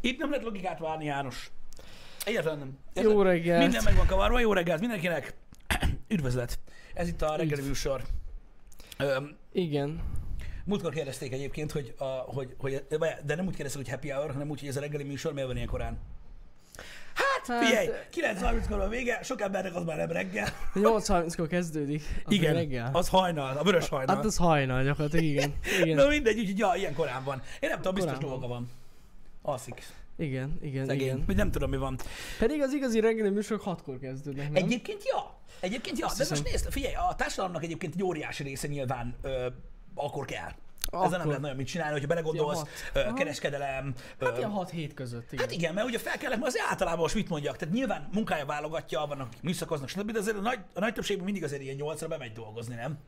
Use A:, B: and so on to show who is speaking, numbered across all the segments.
A: Itt nem lehet logikát várni, János. Egyáltalán nem. Érted?
B: Jó reggelt.
A: Minden meg van kavarva, jó reggelt mindenkinek. Üdvözlet. Ez itt a reggeli műsor. Öm,
B: Igen.
A: múltkor kérdezték egyébként, hogy, a, hogy, hogy, de nem úgy kérdezték, hogy happy hour, hanem úgy, hogy ez a reggeli műsor miért van ilyen korán. Hát,
B: Hát,
A: figyelj, 9.30-kor a vége, sok embernek az már nem reggel.
B: 8.30-kor Hát, kezdődik. Az
A: Igen,
B: Reggel.
A: az hajnal, a vörös hajnal.
B: Hát az hajnal gyakorlatilag, igen. Igen,
A: Na mindegy, úgyhogy ja, ilyen korán van. Én nem tudom, biztos
B: Korán van.
A: dolga van. Alszik.
B: igen, igen,
A: Szegény.
B: igen.
A: Vagy nem tudom, mi van.
B: Pedig az igazi reggeli műsorok 6-kor kezdődnek, nem?
A: Egyébként ja. Egyébként ja. De most nézd, figyelj, a társadalomnak egyébként egy óriási része nyilván ö, akkor kell. Akkor. Ezzel nem
B: Akkor.
A: lehet nagyon mit csinálni, hogyha belegondolsz,
B: Ja,
A: ö, kereskedelem.
B: Hát
A: ö,
B: ilyen 6-7 között, igen.
A: Hát igen, mert ugye fel kellett, mert azért általában most mit mondjak, tehát nyilván munkája válogatja, vannak, akik műszakoznak, stb. De azért a nagy, a nagy többségben mindig azért ilyen nyolcra bemegy dolgozni, nem?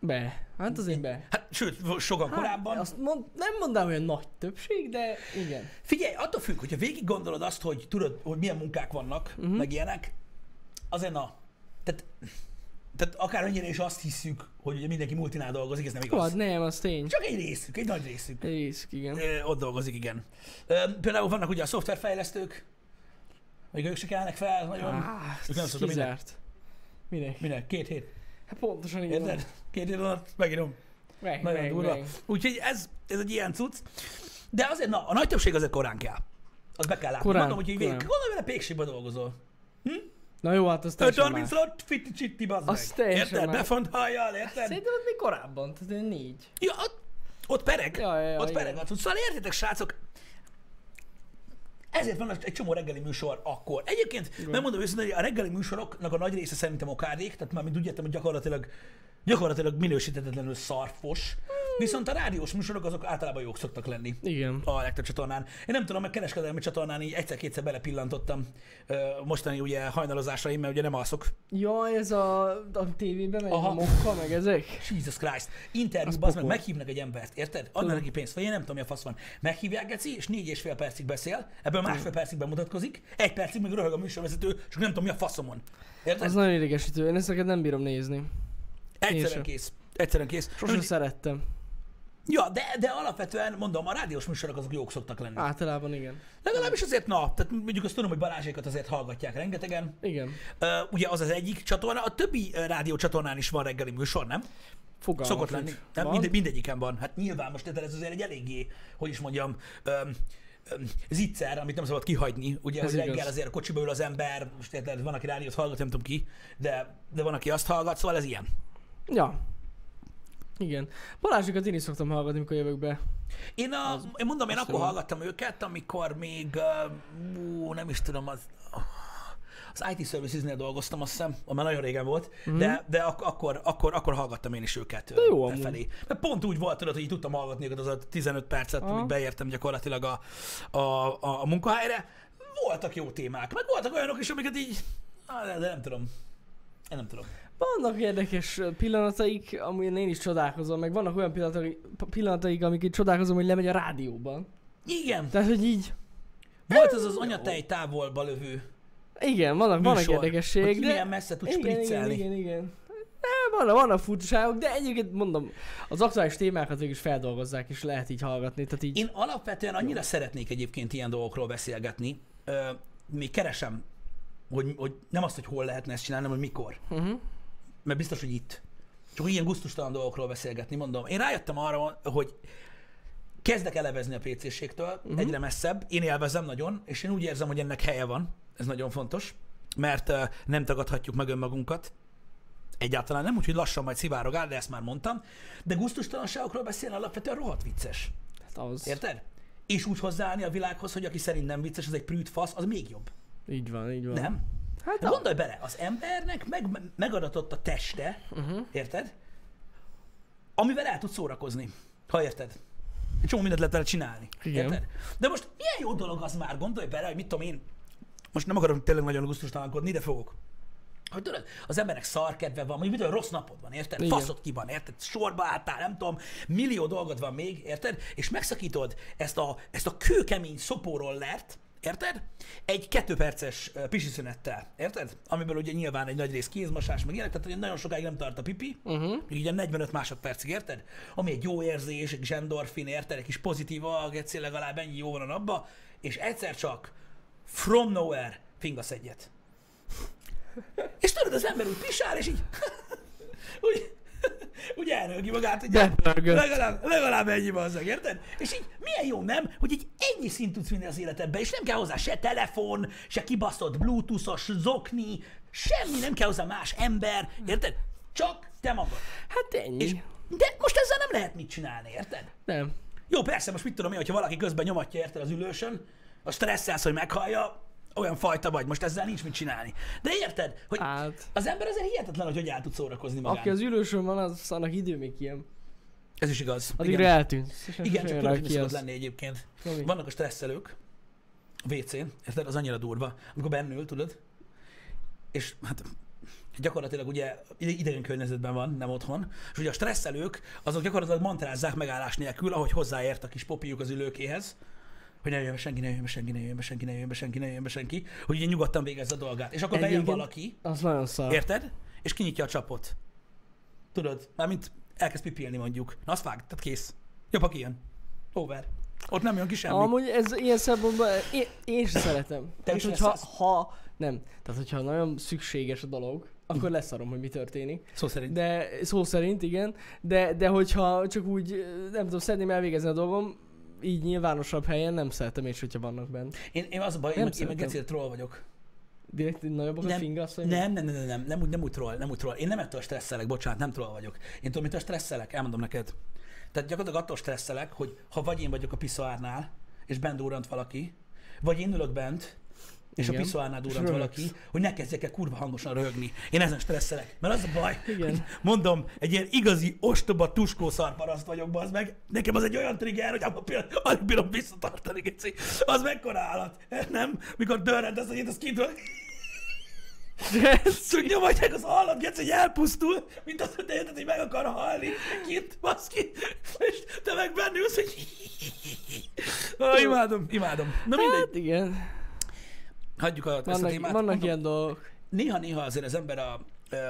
B: Be. Hát azért be.
A: Hát sőt, sokan hát, korábban.
B: Azt mond, nem mondanám, hogy nagy többség, de igen.
A: Figyelj, attól függ, hogyha végig gondolod azt, hogy tudod, hogy milyen munkák vannak, uh-huh. meg ilyenek, azért na, tehát, tehát akármennyire is azt hiszük, hogy ugye mindenki multinál dolgozik, ez nem igaz.
B: Hát nem, az tény.
A: Csak egy részük, egy nagy részük
B: Risk, igen.
A: ö, ott dolgozik, igen. Ö, például vannak ugye a szoftverfejlesztők, még ők se kelnek fel, nagyon.
B: Ah,
A: Ők nem
B: ez
A: szoktam minden.
B: kizárt. Minek?
A: Minek? Két hét.
B: Hát pontosan így van.
A: Érted? Két hét alatt megírom.
B: Meg,
A: Nagyon
B: meg,
A: durva.
B: meg.
A: Úgyhogy ez, ez egy ilyen cucc. De azért, na, a nagy többség azért korán kell. Azt be kell látni.
B: Korán,
A: Mondom, hogy így végig.
B: korán.
A: Gondolom, vele pékségbe dolgozol.
B: Na jó, hát az teljesen más.
A: 5.30 alatt fitti csitti bazd
B: Az
A: meg.
B: teljesen
A: Érted?
B: már.
A: Befont hajjal, érted?
B: Szerintem az még korábban, tehát ilyen négy.
A: Ja, ott, ott pereg.
B: Ja, ja, ja,
A: ott
B: igen.
A: pereg. Ott, szóval értitek, srácok, ezért van egy csomó reggeli műsor akkor. Egyébként, nem mondom őszintén, hogy a reggeli műsoroknak a nagy része szerintem okádék, tehát már mind úgy értem, hogy gyakorlatilag, gyakorlatilag minősítetetlenül szarfos.
B: Hmm.
A: Viszont a rádiós műsorok azok általában jók szoktak lenni
B: Igen.
A: a legtöbb csatornán. Én nem tudom, meg kereskedelmi csatornán így egyszer-kétszer belepillantottam ö, mostani ugye hajnalozásaim, mert ugye nem alszok.
B: Jaj, ez a, a tévében megy
A: Aha.
B: a mokka, meg ezek?
A: Jesus Christ. Interjú,
B: Az
A: az meg
B: pokol.
A: meghívnak egy embert, érted? Adnak neki pénzt, vagy én nem tudom, mi a fasz van. Meghívják, Geci, és négy és fél percig beszél, ebből másfél percig bemutatkozik, egy percig meg röhög a műsorvezető, csak nem tudom, mi a faszomon.
B: Ez
A: Érted?
B: nagyon idegesítő, én ezeket nem bírom nézni. én
A: Egyszerűen
B: sem.
A: kész. Egyszerűen kész.
B: Sosem
A: Úgy-
B: szerettem.
A: Ja, de, de alapvetően mondom, a rádiós műsorok azok jók szoktak lenni.
B: Általában igen.
A: Legalábbis azért, na, tehát mondjuk azt tudom, hogy Balázsékat azért hallgatják rengetegen.
B: Igen.
A: Ö, ugye az az egyik csatorna, a többi ö, rádiócsatornán is van reggeli műsor, nem?
B: Fogalmam
A: Szokott lenni.
B: sincs.
A: Nem,
B: Van?
A: minde, mindegyiken van. Hát nyilván most tehát ez azért egy eléggé, hogy is mondjam, öm, öm, zicser, amit nem szabad kihagyni. Ugye,
B: Ez
A: hogy
B: igaz.
A: reggel azért a kocsiba ül az ember, most érted, van, aki rádiót hallgat, nem tudom ki, de, de van, aki azt hallgat, szóval ez ilyen.
B: Ja. Igen. Balázsikat én is szoktam hallgatni, amikor jövök be.
A: Én, a, én mondom, én
B: az
A: akkor
B: jó.
A: hallgattam őket, amikor még, ö, ú, nem is tudom, az, az IT Services-nél dolgoztam, azt hiszem, ami nagyon régen volt, mm-hmm. de, de ak- akkor, akkor, akkor hallgattam én is őket de
B: Mhm. jó amúgy.
A: felé. Mert pont úgy volt, tudod, hogy így tudtam hallgatni őket az a 15 percet,
B: Aha.
A: amíg beértem gyakorlatilag a, a, a, a munkahelyre. Voltak jó témák, meg voltak olyanok is, amiket így, á, de, de nem tudom. Én nem tudom.
B: Vannak érdekes pillanataik, amin én is csodálkozom, meg vannak olyan pillanatai- pillanataik, amik itt csodálkozom, hogy lemegy a rádióban.
A: Igen,
B: Tehát, hogy így,
A: volt az az anyatej távolba lövő
B: igen, vannak, vannak
A: műsor, hogy
B: érdekességek, de...
A: milyen messze tudsz
B: igen, igen,
A: spriccelni.
B: igen, igen. Eh, Vannak, vannak furcsaságok, de egyébként mondom, az aktuális témákat végül is feldolgozzák, és lehet így hallgatni, tehát így...
A: Én alapvetően annyira szeretnék egyébként ilyen dolgokról beszélgetni. Ö, még keresem, hogy, hogy nem azt, hogy hol lehetne ezt csinálni, hanem hogy mikor.
B: Uh-huh.
A: Mert biztos, hogy itt. Csak ilyen gusztustalan dolgokról beszélgetni, mondom. Én rájöttem arra, hogy kezdek elevezni a PC-ségtől, uh-huh. egyre messzebb. Én élvezem nagyon, és én úgy érzem, hogy ennek helye van. Ez nagyon fontos, mert ö, nem tagadhatjuk meg önmagunkat. Egyáltalán nem, úgyhogy lassan majd szivárog áll, de ezt már mondtam. De gusztustalanságokról beszélni alapvetően rohadt vicces.
B: Hát az...
A: Érted? És úgy hozzáállni a világhoz, hogy aki szerint nem vicces, az egy prűd fasz, az még jobb.
B: Így van, így van.
A: Nem?
B: Hát
A: Hát
B: az.
A: gondolj bele, az embernek meg, megadatott a teste,
B: Mhm.
A: uh-huh. érted? Amivel el tudsz szórakozni, ha érted. Egy csomó mindent lehet vele csinálni.
B: Igen.
A: Érted? De most milyen jó dolog az már, gondolj bele, hogy mit tudom én, most nem akarom tényleg nagyon gusztustalankodni, de fogok. Hogy tudod, az embernek szarkedve van, mondjuk mit tudom, rossz napod van, érted?
B: Igen.
A: Faszod ki van, érted? Sorba álltál, nem tudom, millió dolgod van még, érted? És megszakítod ezt a, ezt a kőkemény szopórollert, Érted? Egy kettő perces ö, pisi szünettel, érted? Amiből ugye nyilván egy nagy rész kézmosás, meg ilyenek, tehát ugye nagyon sokáig nem tart a pipi, uh-huh. ugye 45 másodpercig, érted? Ami egy jó érzés, egy kis endorfin, érted? Egy kis pozitív, ah, geci, legalább ennyi jó van a napba, és egyszer csak from nowhere fingasz egyet. És tudod, az ember úgy pisál, és így úgy, úgy elrögi magát, hogy
B: Bepörgött.
A: legalább, legalább ennyi bazzag, érted? És így milyen jó nem, hogy így ennyi szint tudsz vinni az életedbe, és nem kell hozzá se telefon, se kibaszott bluetoothos zokni, semmi, nem kell hozzá más ember, érted? Csak te magad.
B: Hát ennyi.
A: És, de most ezzel nem lehet mit csinálni, érted?
B: Nem.
A: Jó, persze, most mit tudom én, hogyha valaki közben nyomatja érted az ülősön, a stresszelsz, hogy meghallja, olyan fajta vagy, most ezzel nincs mit csinálni. De érted, hogy
B: Hát.
A: az ember ezzel hihetetlen, hogy hogy el tud szórakozni magán.
B: Aki az ülősön van, az annak idő még ilyen.
A: Ez is igaz.
B: Addigra
A: igen,
B: eltűnt.
A: igen csak tudod, hogy
B: ki
A: szokott
B: az.
A: lenni egyébként.
B: Tomi.
A: Vannak a stresszelők, a WC-n, érted, az annyira durva, amikor bennül, tudod, és hát gyakorlatilag ugye ide- idegen környezetben van, nem otthon, és ugye a stresszelők, azok gyakorlatilag mantrázzák megállás nélkül, ahogy hozzáért a kis popiuk az ülőkéhez, hogy ne jöjjön be senki, ne jöjjön be senki, ne jöjjön be senki, ne jöjjön be senki, ne jöjjön be senki, hogy ugye nyugodtan végezze a dolgát. És akkor bejön
B: Egyébként-
A: valaki,
B: Az nagyon szar.
A: érted, és kinyitja a csapot. Tudod, mármint elkezd pipilni mondjuk. Na, azt vág, tehát kész. Jobb, ha kijön. Over. Ott nem jön ki semmi.
B: Amúgy ez ilyen szempontból, én, én sem szeretem.
A: is
B: hogyha,
A: lesszállsz?
B: ha, nem, tehát hogyha nagyon szükséges a dolog, akkor leszarom, hogy mi történik.
A: Szó szerint. De...
B: De szó szerint igen, de, de hogyha csak úgy, nem tudom, szeretném elvégezni a dolgom, így nyilvánosabb helyen nem szeretem és hogyha vannak bent.
A: Én, én az a baj, én,
B: Nem
A: meg- én meg
B: szeretem.
A: gecél troll vagyok.
B: Direkt így nagyobbak a Hát,
A: Nem,
B: fingasz, vagy mi?
A: Nem, nem, nem, nem, nem, nem, úgy, nem úgy troll, nem úgy troll. Én nem ettől stresszelek, bocsánat, nem troll vagyok. Én tudom, mitől stresszelek, elmondom neked. Tehát gyakorlatilag attól stresszelek, hogy ha vagy én vagyok a piszoárnál, és bent durrant valaki, vagy én ülök bent, és Igen.
B: Igen.
A: a piszoárnál
B: És
A: durrant
B: röhögsz.
A: valaki, hogy ne kezdjek el kurva hangosan röhögni. Én ezen stresszelek, mert az a baj,
B: Igen.
A: hogy mondom, egy ilyen igazi ostoba tuskószarparaszt vagyok, bazd meg. Nekem az egy olyan trigger, hogy abban a pillanatban alig bírom visszatartani, geci. Az mekkora állat, nem? Mikor dörrent ez, hogy itt az kintről, csak nyomatják az állat, geci, hogy elpusztul, mint az, hogy te érted, hogy meg akar halni kint, baszki, és te meg bennülsz, hogy ah, imádom, imádom. Na mindegy,
B: Hát igen,
A: hagyjuk a, ezt a
B: vannak,
A: témát.
B: vannak
A: Mondom,
B: ilyen dolgok.
A: Néha-néha azért az ember a, ö,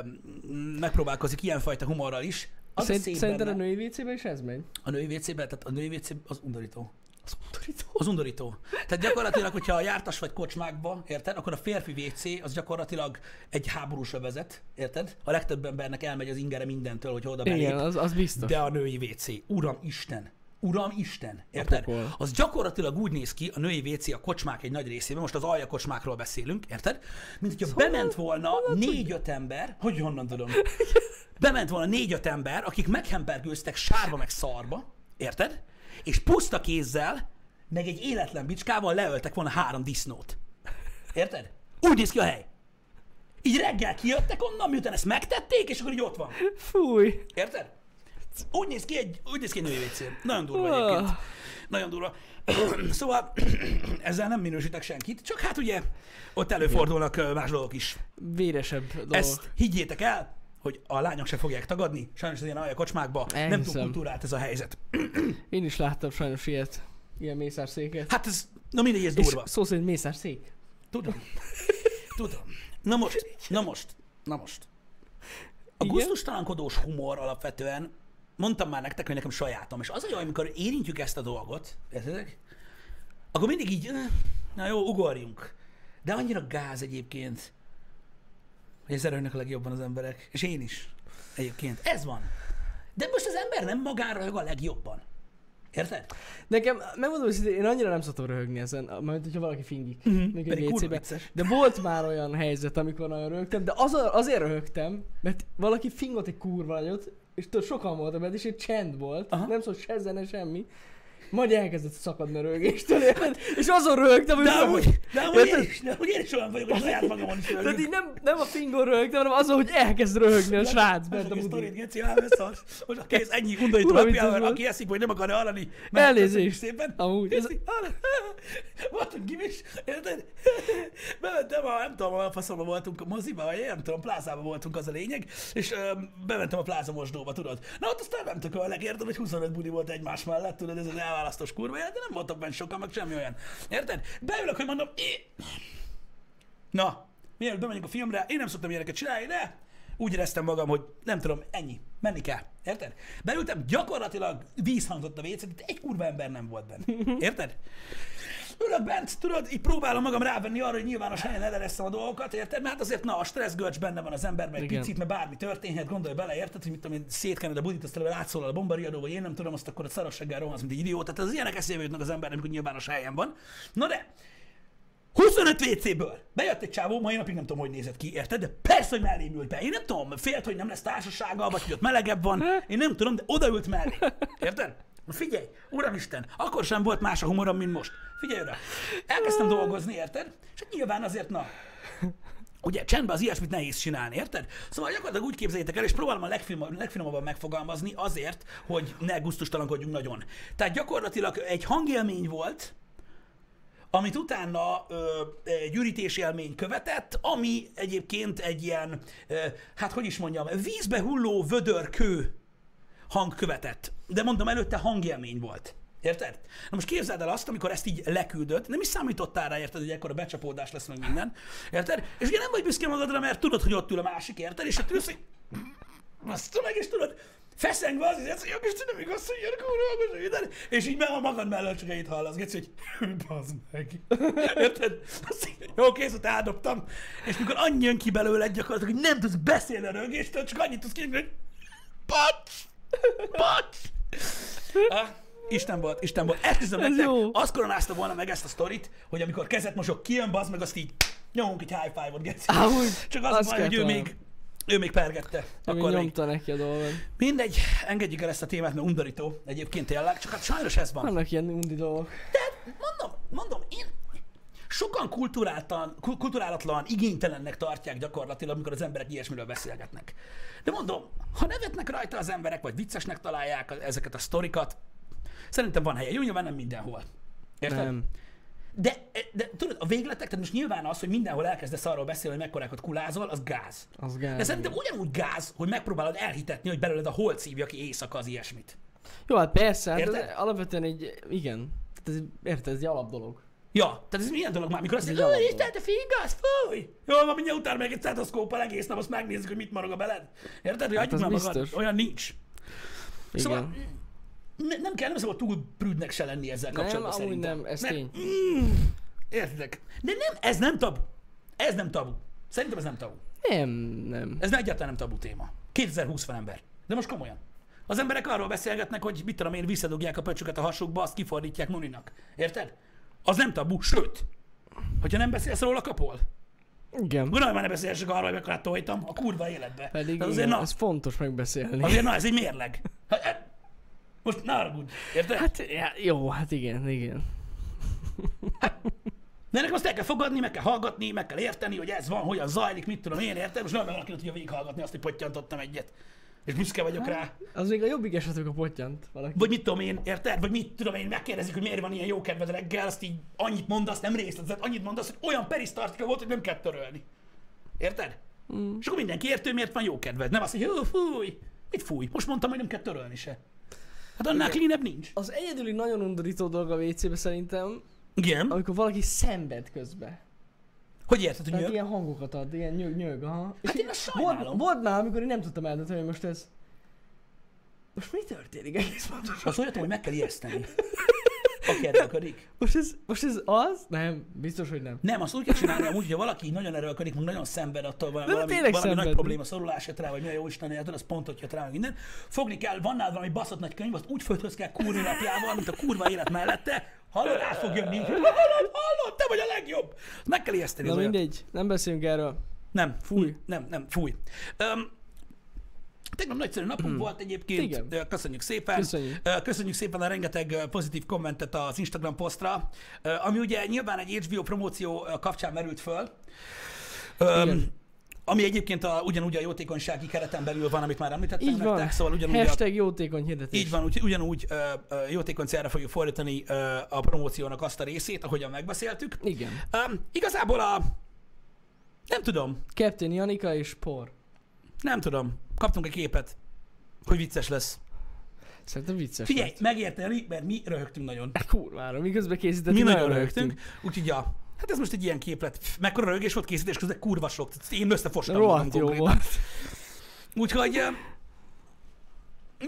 A: megpróbálkozik ilyenfajta humorral is. Az
B: Szerint,
A: a szép
B: szerinted
A: benne,
B: a női WC-ben is ez megy?
A: a női wc tehát a női WC az undorító.
B: Az undorító.
A: Az undorító. Tehát gyakorlatilag, hogyha jártas vagy kocsmákba, érted, akkor a férfi WC az gyakorlatilag egy háborúsra vezet, érted? A legtöbb embernek elmegy az ingere mindentől, hogy oda belép.
B: Igen, az, az biztos.
A: De a női WC, uram Isten, uram Isten, érted?
B: pokol.
A: Az gyakorlatilag úgy néz ki, a női WC a kocsmák egy nagy részében, most az alja kocsmákról beszélünk, érted? Mint hogyha bement volna négy-öt ember, hogy honnan tudom? Bement volna négy-öt ember, akik meghempergőztek sárba meg szarba, érted? És puszta kézzel, meg egy életlen bicskával leöltek volna három disznót. Érted? Úgy néz ki a hely. Így reggel kijöttek onnan, miután ezt megtették, és akkor így ott van.
B: Fúj.
A: Érted? Úgy néz ki egy, úgy néz ki egy női WC. Nagyon durva egyébként. Nagyon durva. szóval ezzel nem minősítek senkit, csak hát ugye ott előfordulnak ö, más dolgok is.
B: Véresebb dolgok.
A: Ezt higgyétek el, hogy a lányok se fogják tagadni, sajnos az ilyen alja kocsmákban nem túl
B: Elhiszem.
A: kultúrált ez a helyzet.
B: Én is láttam sajnos ilyet. Ilyen mészárszéket.
A: Hát ez, na mindegy, ez
B: És
A: durva.
B: szó szerint mészárszék.
A: Tudom. Tudom. Na most, na most, na most. A
B: Igen?
A: guztustalankodós humor alapvetően, mondtam már nektek, hogy nekem sajátom, és az a jó, amikor érintjük ezt a dolgot, értedek? Akkor mindig így, "Eh, na jó, ugorjunk. De annyira gáz egyébként, hogy ezzel örülnek a legjobban az emberek, és én is egyébként. Ez van. De most az ember nem magára röhög a legjobban. Érted?
B: Nekem, megmondom őszintén, én annyira nem szoktam röhögni ezen, a- mert hogyha valaki fingik. Uh-huh. Még
A: Mhm. pedig
B: egy
A: kurva
B: WC-ben.
A: vicces.
B: De volt már olyan helyzet, amikor nagyon röhögtem, de az, azért röhögtem, mert valaki fingott egy kurva nagyot, és tudod, sokan voltak benne, és egy csend volt,
A: Aha.
B: Aha. nem szólt se zene, semmi. Majd elkezdett szakadni a röhögéstől, érted? és azon röhögtem, hogy
A: De
B: nem-
A: amúgy, de amúgy, én
B: Érted?
A: is, de amúgy én is olyan vagyok, hogy saját magamon is
B: Tehát
A: röhögök.
B: így nem, nem a fingon röhögtem, hanem azon, hogy elkezd röhögni a srác bent a
A: Mesélj egy
B: budin.
A: sztorit, Geci, elveszarsz. Most a kész, ennyi undorító
B: Uram,
A: happy
B: itt az
A: hour,
B: volt.
A: aki eszik, vagy nem akar hallani.
B: Elnézést.
A: köszönjük szépen.
B: Amúgy, ez-
A: Geci, hallod? Voltunk gimis, érted? Bementem a, nem tudom, a faszomba voltunk a moziba, vagy nem tudom, plázában voltunk, az a lényeg, és öm, bementem a pláza mosdóba, tudod. Na ott aztán nem tök a legértem, hogy 25 buli volt egymás mellett, tudod, ez az leválasztós kurva élet, de nem voltak benne sokan, meg semmi olyan. Érted? Beülök, hogy mondom, "Ih!" na, mielőtt bemegyünk a filmre, én nem szoktam ilyeneket csinálni, de úgy éreztem magam, hogy nem tudom, ennyi, menni kell. Érted? Beültem, gyakorlatilag vízhangzott a WC, de egy kurva ember nem volt benne. Érted? Ülök bent, tudod, így próbálom magam rávenni arra, hogy nyilvános helyen eleresztem a dolgokat, érted? Mert hát azért, na, a stresszgörcs benne van az emberben egy
B: Igen.
A: picit, mert bármi történhet, gondolj bele, érted, hogy mit tudom én, szétkened a budit, aztán legalább átszólal a bombariadó, vagy én nem tudom, azt akkor a szarassággal rohansz, mint egy idióta. Tehát az ilyenek eszébe jutnak az ember, amikor nyilvános helyen van. Na de, 25 WC-ből bejött egy csávó, mai napig nem tudom, hogy nézett ki, érted? De persze, hogy mellém ült be. Én nem tudom, félt, hogy nem lesz társasága, vagy hogy ott melegebb van. Én nem tudom, de odaült mellé. Érted? Na Figyelj, uramisten, akkor sem volt más a humorom, mint most. Figyelj oda. Elkezdtem dolgozni, érted? És hát nyilván azért, na, Ugye csendben az ilyesmit nehéz csinálni, érted? Szóval gyakorlatilag úgy képzeljétek el, és próbálom a legfinom- legfinomabban megfogalmazni azért, hogy ne gusztustalankodjunk nagyon. Tehát gyakorlatilag egy hangélmény volt, amit utána ö, egy ürítés élmény követett, ami egyébként egy ilyen, ö, hát hogy is mondjam, vízbe hulló vödörkő hang követett. De mondom, előtte hangélmény volt. Érted? Na most képzeld el azt, amikor ezt így leküldött, nem is számítottál rá, érted, hogy ekkora becsapódás lesz meg minden. Érted? És ugye nem vagy büszke magadra, mert tudod, hogy ott ül a másik, érted? És ott ülsz, hogy azt tudod, meg, és tudod, feszengve az, ez, jó, Isten, nem igaz, hogy jön kurva, most minden, és így meg a magad mellől csak ennyit hallasz, geci, hogy bazd meg. Érted? Azt így, jó, kész, ott eldobtam, és mikor annyi jön ki belőled gyakorlatilag, hogy nem tudsz beszélni a rögéstől, csak annyit tudsz ki, hogy pacs, pacs. Ah, Isten volt, Isten volt. Esküszöm
B: Ez
A: nektek,
B: jó.
A: azt koronázta volna meg ezt a sztorit, hogy amikor kezet mosok, kijön, bazd meg, azt így nyomunk egy high five-ot, geci.
B: Á, úgy.
A: Csak az,
B: Azt
A: az baj,
B: kell
A: hogy ő
B: találnom.
A: még, ő még pergette.
B: Akkor
A: Akkor még.
B: nyomta neki a dolgot.
A: Mindegy, engedjük el ezt a témát, mert undorító egyébként tényleg, csak hát sajnos ez van.
B: Vannak ilyen undi dolgok.
A: De hát mondom, mondom, én sokan kulturáltan, ku- kulturálatlan, igénytelennek tartják gyakorlatilag, amikor az emberek ilyesmiről beszélgetnek. De mondom, ha nevetnek rajta az emberek, vagy viccesnek találják a- ezeket a sztorikat, szerintem van helye. Jó, nyilván nem mindenhol. Érted?
B: Nem.
A: De, de tudod, a végletek, tehát most nyilván az, hogy mindenhol elkezdesz arról beszélni, hogy mekkorákat kulázol, az gáz.
B: Az gáz.
A: De szerintem ugyanúgy gáz, hogy megpróbálod elhitetni, hogy belőled a hol szívja ki éjszaka az ilyesmit.
B: Jó, hát persze, hát
A: Érted?
B: ez alapvetően egy, igen. Tehát ez, érted, ez egy alap dolog.
A: Ja, tehát ez milyen dolog már, mikor azt
B: Ez
A: mondja,
B: egy
A: hogy
B: alap
A: Isten, te fingasz, fúj! Jó, van, mindjárt utána meg egy stetoszkóppal egész nap, azt megnézzük, hogy mit marog a beled. Érted? Hogy hagyjuk
B: Hát az
A: már magad,
B: biztos.
A: olyan nincs.
B: Igen.
A: Szóval ne, nem kell, nem szabad túl prűdnek se lenni ezzel
B: nem,
A: kapcsolatban
B: amúgy
A: szerintem.
B: nem, ez
A: Mert-
B: tény.
A: Értitek? De nem, ez nem tabu. Ez nem tabu. Szerintem ez nem tabu.
B: Nem, nem.
A: Ez egyáltalán nem tabu téma. 2020 van ember. De most komolyan. Az emberek arról beszélgetnek, hogy mit tudom én, visszadugják a pöcsöket a hasukba, azt kifordítják Nuninak. Érted? Az nem tabu, sőt. Hogyha nem beszélsz róla, kapol.
B: Igen.
A: Gondolj már ne beszélsek arról, hogy mekkora tojtam a kurva életbe.
B: Pedig
A: Tehát
B: igen,
A: Hát azért, na,
B: ez fontos megbeszélni.
A: azért na, ez egy mérleg. Hát, hát, Most ne haragudj, érted?
B: Hát já, jó, hát igen, igen.
A: De ennek azt el kell fogadni, meg kell hallgatni, meg kell érteni, hogy ez van, hogyan zajlik, mit tudom én, érted? Most nem valaki tudja végighallgatni azt, hogy pottyantottam egyet. És büszke vagyok
B: Hát-
A: rá.
B: Az még a jobbik esetük a pottyant valaki.
A: Vagy mit tudom én, érted? Vagy mit tudom én, megkérdezik, hogy miért van ilyen jó kedved reggel, azt így annyit mondasz, nem részletezett, annyit mondasz, hogy olyan perisztartika volt, hogy nem kell törölni. Érted? Mm. És akkor mindenki értő, miért van jó kedved. Nem azt, hogy "Hú, fúj, mit fúj? Most mondtam, hogy nem kell törölni se. Hát annál cleanebb nincs.
B: Az egyedüli nagyon undorító dolog a WC-be szerintem,
A: Igen. Hát
B: amikor valaki szenved közbe.
A: Hogy érted, hogy
B: Tehát
A: nyilv?
B: ilyen hangokat ad, ilyen nyög, nyög, aha.
A: Hát
B: És
A: én azt
B: volt,
A: sajnálom.
B: volt már, amikor én nem tudtam eldönteni, hogy most ez... Most mi történik egész pontosan?
A: Azt olyat, hogy meg kell ijeszteni. Aki erőlködik.
B: Most ez, most ez az? Nem, biztos, hogy nem.
A: Nem, azt úgy kell csinálni, amúgy, hogyha valaki így nagyon erőlködik, meg nagyon szenved attól valami,
B: de
A: valami,
B: tényleg
A: valami nagy
B: szenved.
A: probléma szorulás jött rá, vagy mi a jó Isten érted, az pont ott jött rá, meg minden. Fogni kell, van nálad valami baszott nagy könyv, azt úgy földhöz kell kúrni lapjával, mint a kurva élet mellette, hallod, rá fog jönni. így, Hallod, hallod, te vagy a legjobb. Meg kell ijeszteni.
B: Na
A: az olyat.
B: mindegy, nem beszélünk erről.
A: Nem,
B: Fúj.
A: Nem, nem, fúj. Um, Tegnap nagyszerű napunk volt egyébként,
B: Hmm. Igen.
A: Ö, köszönjük szépen.
B: Köszönjük.
A: Ö, köszönjük szépen a rengeteg ö, pozitív kommentet az Instagram posztra, ö, ami ugye nyilván egy HBO promóció ö, kapcsán merült föl, Öm,
B: Igen.
A: ami egyébként a, ugyanúgy a jótékonysági kereten belül van, amit már említettem
B: Így van.
A: nektek, szóval ugyanúgy a
B: Hashtag jótékony hirdetés.
A: így van, úgy, ugyanúgy ö, ö, jótékony célra fogjuk fordítani ö, a promóciónak azt a részét, ahogyan megbeszéltük.
B: Igen.
A: Öm, igazából a... Nem tudom,
B: Captain Janika és Por.
A: nem tudom. Kaptunk egy képet, hogy vicces lesz.
B: Szerintem vicces.
A: Figyelj,
B: volt.
A: megérteni, mert mi röhögtünk nagyon.
B: Hát kurvára, miközben készítettük,
A: Mi nagyon röhögtünk. Úgyhogy, ja, hát ez most egy ilyen képlet. Pff, Mekkora röhögés volt készítés közben, kurva sok. Tehát Én összefostam magam
B: Rohadt jó
A: konkrétan.
B: volt.
A: Úgyhogy, ö,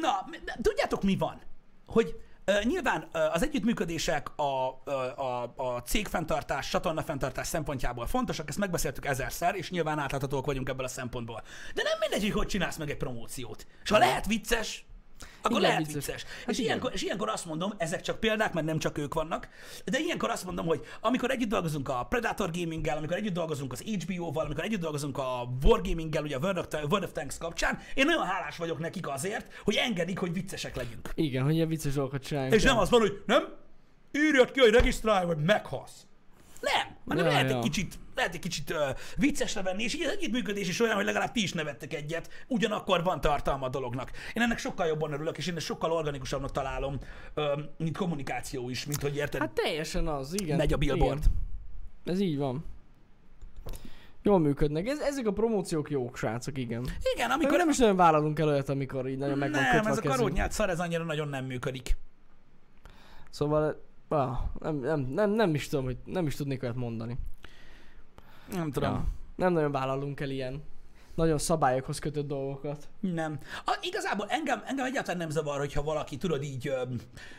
A: na, m- m- tudjátok mi van? Hogy ö, nyilván ö, az együttműködések, a, ö, a, a cégfenntartás, csatornafenntartás szempontjából fontosak, ezt megbeszéltük ezerszer, és nyilván átláthatóak vagyunk ebből a szempontból. De nem mindegy, hogy hogy csinálsz meg egy promóciót. És ha lehet vicces, akkor
B: Igen,
A: lehet
B: vicces.
A: vicces.
B: Hát
A: és,
B: igen.
A: ilyenkor, és ilyenkor azt mondom, ezek csak példák, mert nem csak ők vannak, de ilyenkor azt mondom, hogy amikor együtt dolgozunk a Predator Gaminggel, amikor együtt dolgozunk az HBO-val, amikor együtt dolgozunk a Wargaminggel, ugye a World of, World of Tanks kapcsán, én nagyon hálás vagyok nekik azért, hogy engedik, hogy viccesek legyünk.
B: Igen, hogy ilyen vicces dolgokat csináljunk.
A: És nem az van, hogy nem, írjad ki, hogy regisztrálj, vagy meghalsz. Nem, hanem
B: Ja,
A: ja, lehet,
B: ja.
A: Egy kicsit, lehet egy kicsit ö, viccesre venni, és így az együttműködés is olyan, hogy legalább ti is nevettek egyet, ugyanakkor van tartalma a dolognak. Én ennek sokkal jobban örülök, és én ezt sokkal organikusabbnak találom, ö, mint kommunikáció is, mint hogy érted, hát,
B: Hát teljesen az, igen.
A: megy a billboard.
B: Igen. Ez így van. Jól működnek. Ez, ezek a promóciók jók, srácok, igen.
A: Igen, igen
B: Mikor
A: amikor
B: nem is nagyon vállalunk el olyat, amikor így nagyon meg van
A: nem,
B: kötve
A: ez
B: a
A: a
B: kezünk.
A: karónyát szar, ez annyira nagyon nem működik.
B: Szóval, ah, nem, nem, nem, nem, is tudom, hogy nem is tudnék olyat mondani.
A: Nem tudom. Ja.
B: Nem nagyon vállalunk el ilyen nagyon szabályokhoz kötött dolgokat.
A: Nem. A, igazából engem, engem egyáltalán nem zavar, hogyha valaki, tudod, így, ö,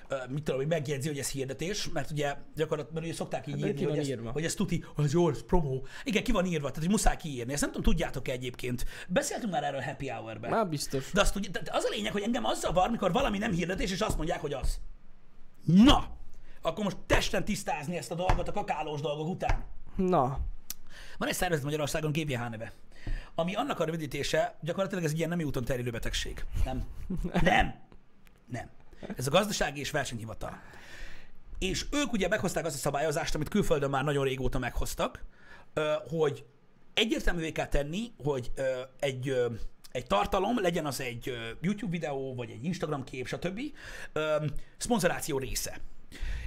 A: ö, mit tudom, hogy megjegyzi, hogy ez hirdetés, mert ugye gyakorlatilag ugye szokták így
B: Hát, de
A: írni,
B: ki van
A: hogy, Ez,
B: írva?
A: hogy ez tuti, hogy ez jó, ez promó. Igen, ki van írva, tehát hogy muszáj kiírni. Ezt nem tudom, tudjátok -e egyébként. Beszéltünk már erről Happy Hour-ben.
B: Már biztos.
A: De azt ugye, de az a lényeg, hogy engem az zavar, mikor valami nem hirdetés, és azt mondják, hogy az. Na! Akkor most testen tisztázni ezt a dolgot a kakálós dolgok után.
B: Na,
A: Van egy szervezet Magyarországon, GVH neve, ami annak a rövidítése, gyakorlatilag ez egy ilyen nemi úton terjedő betegség. Nem. Nem. Nem. Ez a gazdasági és versenyhivatal. És ők ugye meghozták azt a szabályozást, amit külföldön már nagyon régóta meghoztak, ö, hogy egyértelművé kell tenni, hogy ö, egy, ö, egy tartalom, legyen az egy ö, YouTube videó, vagy egy Instagram kép, stb. ö, Szponzoráció része.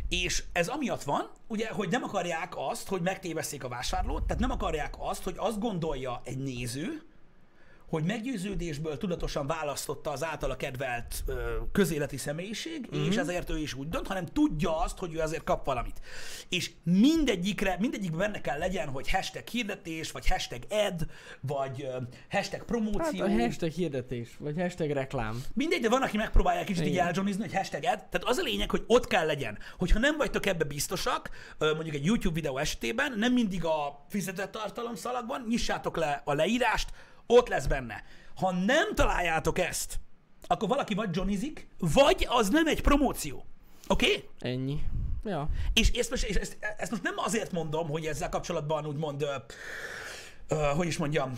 A: És ez amiatt van, ugye, hogy nem akarják azt, hogy megtévesszék a vásárlót, tehát nem akarják azt, hogy azt gondolja egy néző, hogy meggyőződésből tudatosan választotta az általa kedvelt ö, közéleti személyiség, mm-hmm.
B: Mhm.
A: és ezért ő is úgy dönt, hanem tudja azt, hogy ő azért kap valamit. És mindegyikre, mindegyikben benne kell legyen, hogy hashtag hirdetés, vagy hashtag ad, vagy ö, hashtag
B: hát
A: promóció.
B: a hashtag hirdetés, vagy hashtag reklám.
A: Mindegy, de van, aki megpróbálja kicsit így
B: Igen.
A: elzsonizni, hogy hashtaget. Tehát az a lényeg, hogy ott kell legyen. Hogyha nem vagytok ebbe biztosak, ö, mondjuk egy YouTube videó esetében, nem mindig a fizetett tartalom szalagban, nyissátok le a leírást, ott lesz benne. Ha nem találjátok ezt, akkor valaki vagy johnizik, vagy az nem egy promóció. Oké? Okay?
B: Ennyi. Ja.
A: És ezt most, és ezt, ezt most nem azért mondom, hogy ezzel kapcsolatban úgymond, ö, ö, hogy is mondjam,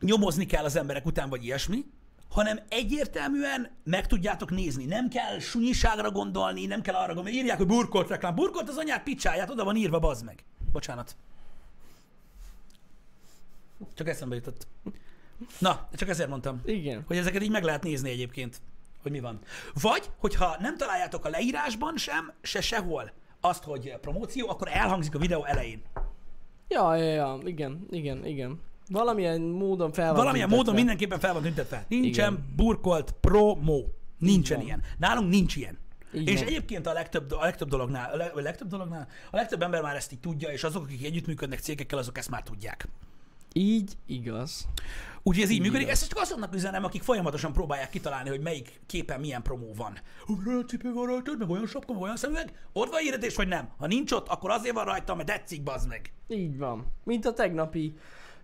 A: nyomozni kell az emberek után, vagy ilyesmi, hanem egyértelműen meg tudjátok nézni. Nem kell sunyiságra gondolni, nem kell arra gondolni. Írják, hogy burkolt reklám. Burkolt az anyát, picsáját, oda van írva, bazd meg. Bocsánat. Csak eszembe jutott. Na, csak ezért mondtam.
B: Igen.
A: Hogy ezeket így meg lehet nézni egyébként, hogy mi van. Vagy, hogyha nem találjátok a leírásban sem, se sehol azt, hogy promóció, akkor elhangzik a videó elején.
B: Ja, ja, ja, igen, igen, igen. Valamilyen módon fel van
A: Valamilyen módon
B: tüntetve.
A: mindenképpen fel van tüntetve. Nincsen
B: Igen.
A: burkolt promó. Nincsen
B: van.
A: ilyen. Nálunk nincs ilyen.
B: Így
A: és
B: van.
A: egyébként a legtöbb, a legtöbb dolognál, a, leg, a legtöbb dolognál, a legtöbb ember már ezt így tudja, és azok, akik együttműködnek cégekkel, azok ezt már tudják.
B: Így igaz.
A: Úgyhogy ez így működik.
B: van.
A: Ezt csak azoknak üzenem, akik folyamatosan próbálják kitalálni, hogy melyik képen milyen promó van. Ó, Olyan cipő van rajtad, meg olyan sapka, meg olyan szemüveg. Ott van hirdetés, vagy nem? Ha nincs ott, akkor azért van rajta, mert tetszik, bazd meg.
B: Így van. Mint a tegnapi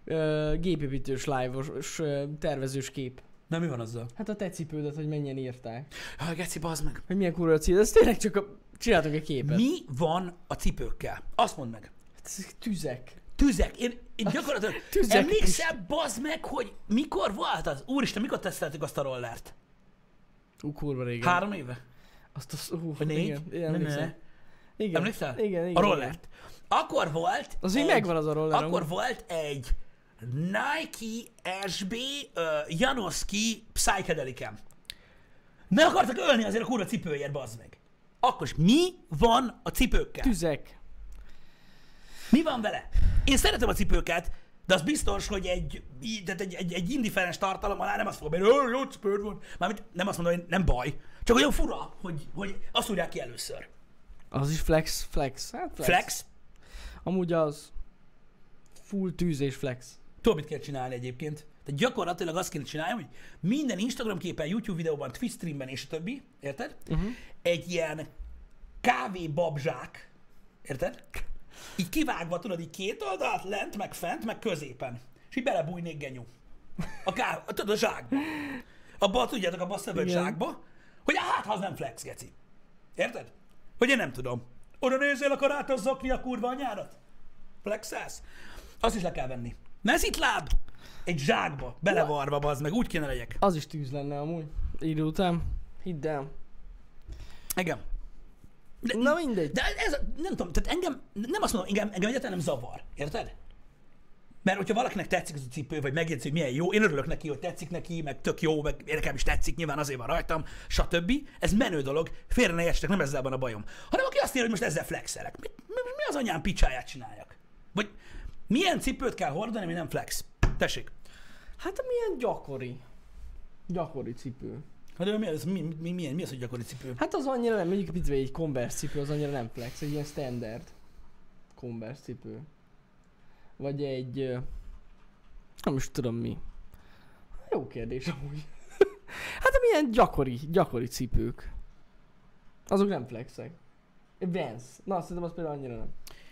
B: ö, gépépítős live-os ö, tervezős kép.
A: Na mi van azzal?
B: Hát a te cipődet, hogy mennyien írták.
A: Ha, geci, bazd meg.
B: Hogy milyen kurva a cíl. Ez tényleg csak a... Csináltok egy képet.
A: Mi van a cipőkkel? Azt mondd meg.
B: Hát ezek tüzek.
A: Tüzek. Én, én gyakorlatilag
B: Tüzek
A: emlékszel, bazd meg, hogy mikor volt az? Úristen, mikor teszteltük azt a rollert?
B: Ú, kurva régen.
A: Három éve?
B: Azt a szó...
A: Vagy Hát, négy?
B: Igen,
A: Ne,
B: igen,
A: ne,
B: emlékszem.
A: ne.
B: igen.
A: Emlékszel?
B: Igen, igen.
A: A rollert. Akkor volt...
B: Az így
A: egy-
B: megvan az a roller.
A: Akkor volt egy Nike SB uh, Janoski Psychedelicem. Meg akartak ölni azért a kurva cipőért, bazd meg. Akkor is mi van a cipőkkel?
B: Tüzek.
A: Mi van vele? Én szeretem a cipőket, De az biztos, hogy egy, í- tehát egy, egy, egy indiferens tartalom alá nem azt fogom bírni, hogy jó cipőd van. Mármint nem azt mondom, hogy nem baj. Csak olyan fura, hogy, hogy azt mondják ki először.
B: Az is flex, flex. Hát flex.
A: Flex.
B: Amúgy az full tűz és flex.
A: Tudod, mit kell csinálni egyébként? Tehát gyakorlatilag azt kell csinálni, hogy minden Instagram képen, YouTube videóban, Twitch streamben és a többi, érted? Uh-huh. Egy ilyen kávébabzsák, érted? Így kivágva tudod így két oldalt, lent, meg fent, meg középen. És így belebújnék genyú. A kávé, tudod, a zsákba. Abba, tudjátok, abba a szövött
B: Igen.
A: zsákba, hogy hát, ha az nem flex, geci. Érted? Hogy én nem tudom. Oda nézzél, akkor átozzakni a kurva anyárat? Flexelsz? Azt is le kell venni. Mezit láb? Egy zsákba, belevarva, bazd meg, úgy kéne legyek.
B: Az is tűz lenne amúgy. Idő után. Hidd el.
A: Igen. De-
B: Na mindegy.
A: E, De ez, nem tudom, tehát engem, nem azt mondom, engem, engem egyáltalán nem zavar, érted? Mert hogyha valakinek tetszik az a cipő, vagy megjegyzi, hogy milyen jó, én örülök neki, hogy tetszik neki, meg tök jó, meg én nekem is tetszik, nyilván azért van rajtam, stb. Ez menő dolog, félre ne értsetek, nem ezzel van a bajom. Hanem aki azt írja, hogy most ezzel flexelek. Mi, mi, mi az anyám picsáját csináljak? Vagy milyen cipőt kell hordani, ami nem flex? Tessék.
B: Hát milyen gyakori. Gyakori cipő.
A: Hát de mi, az, mi, mi, mi, mi az, hogy gyakori cipő?
B: Hát az annyira nem, mondjuk mit egy Converse cipő, az annyira nem flex, egy ilyen standard Converse cipő. Vagy egy... ö, Nem is tudom mi. Jó kérdés amúgy. hát de milyen gyakori, gyakori cipők. Azok nem flexek. Egy Vans. Na, szerintem az például annyira nem.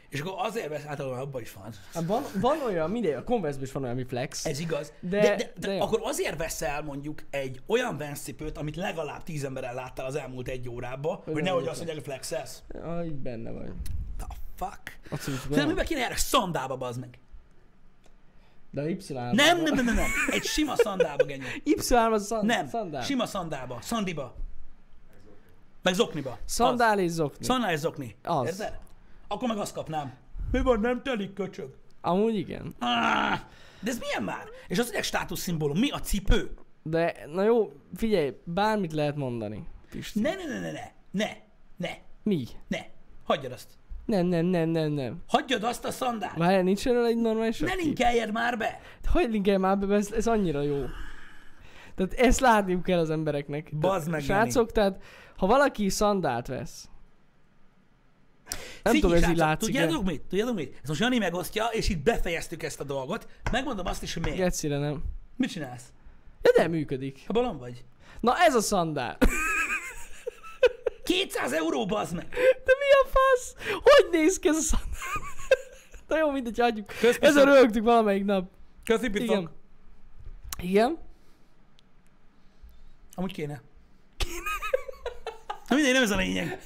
A: És akkor azért vesz, hát abban is van.
B: Hát van, van olyan, mindegy, a converse is van olyan, ami flex.
A: Ez igaz. De,
B: De-
A: de, de, de
B: de jó.
A: akkor azért veszel mondjuk egy olyan Vans cipőt, amit legalább tíz emberrel láttál az elmúlt egy órába, hogy,
B: nem
A: nehogy
B: volt
A: azt mondják, hogy flexelsz.
B: Ah, így benne vagy.
A: The fuck?
B: A cipőben.
A: Nem, miben kéne erre? Szandába bazd meg.
B: De a Y.
A: Nem, nem, nem, nem, nem. Egy sima szandába, genyó.
B: Y az szand-
A: Nem,
B: szandál.
A: sima szandába, szandiba. Meg zokniba.
B: Szandál és zokni.
A: Az. Szandál és zokni.
B: Az.
A: Érted? Akkor meg azt kapnám. Mi van, nem telik köcsög?
B: Amúgy igen.
A: Ah, de ez milyen már? És az egy státuszszimbólum. Mi a cipő?
B: De, na jó, figyelj, bármit lehet mondani. Pisti.
A: Ne, ne, ne, ne, ne, ne, ne,
B: Mi?
A: ne. Hagyjad azt.
B: Nem, nem, nem, nem, nem.
A: Hagyjad azt a szandált!
B: Várjál, nincs erről egy normális
A: Ne
B: kép?
A: linkeljed már be!
B: Hogy linkelj már be, ez, ez annyira jó. Tehát ezt látniuk kell az embereknek. Tehát,
A: Bazd meg,
B: Srácok, tehát ha valaki szandált vesz, nem
A: Cigi
B: tudom, ez így
A: srácok,
B: látszik -e?
A: Tudjátok mit? Tudjátok mit? Ezt most Jani megosztja, és itt befejeztük ezt a dolgot. Megmondom azt is, hogy miért.
B: Gecire nem.
A: Mit csinálsz?
B: Ja, de működik.
A: Ha balon vagy?
B: Na ez a szandál.
A: 200 euró, bazd meg!
B: De mi a fasz? Hogy néz ki ez a szandál? Na jó, mindegy, hagyjuk.
A: Közpiszok.
B: Ezzel rögtük valamelyik nap.
A: Köszi,
B: Igen. Igen?
A: Amúgy kéne. Kéne. Na mindegy, nem ez a lényeg.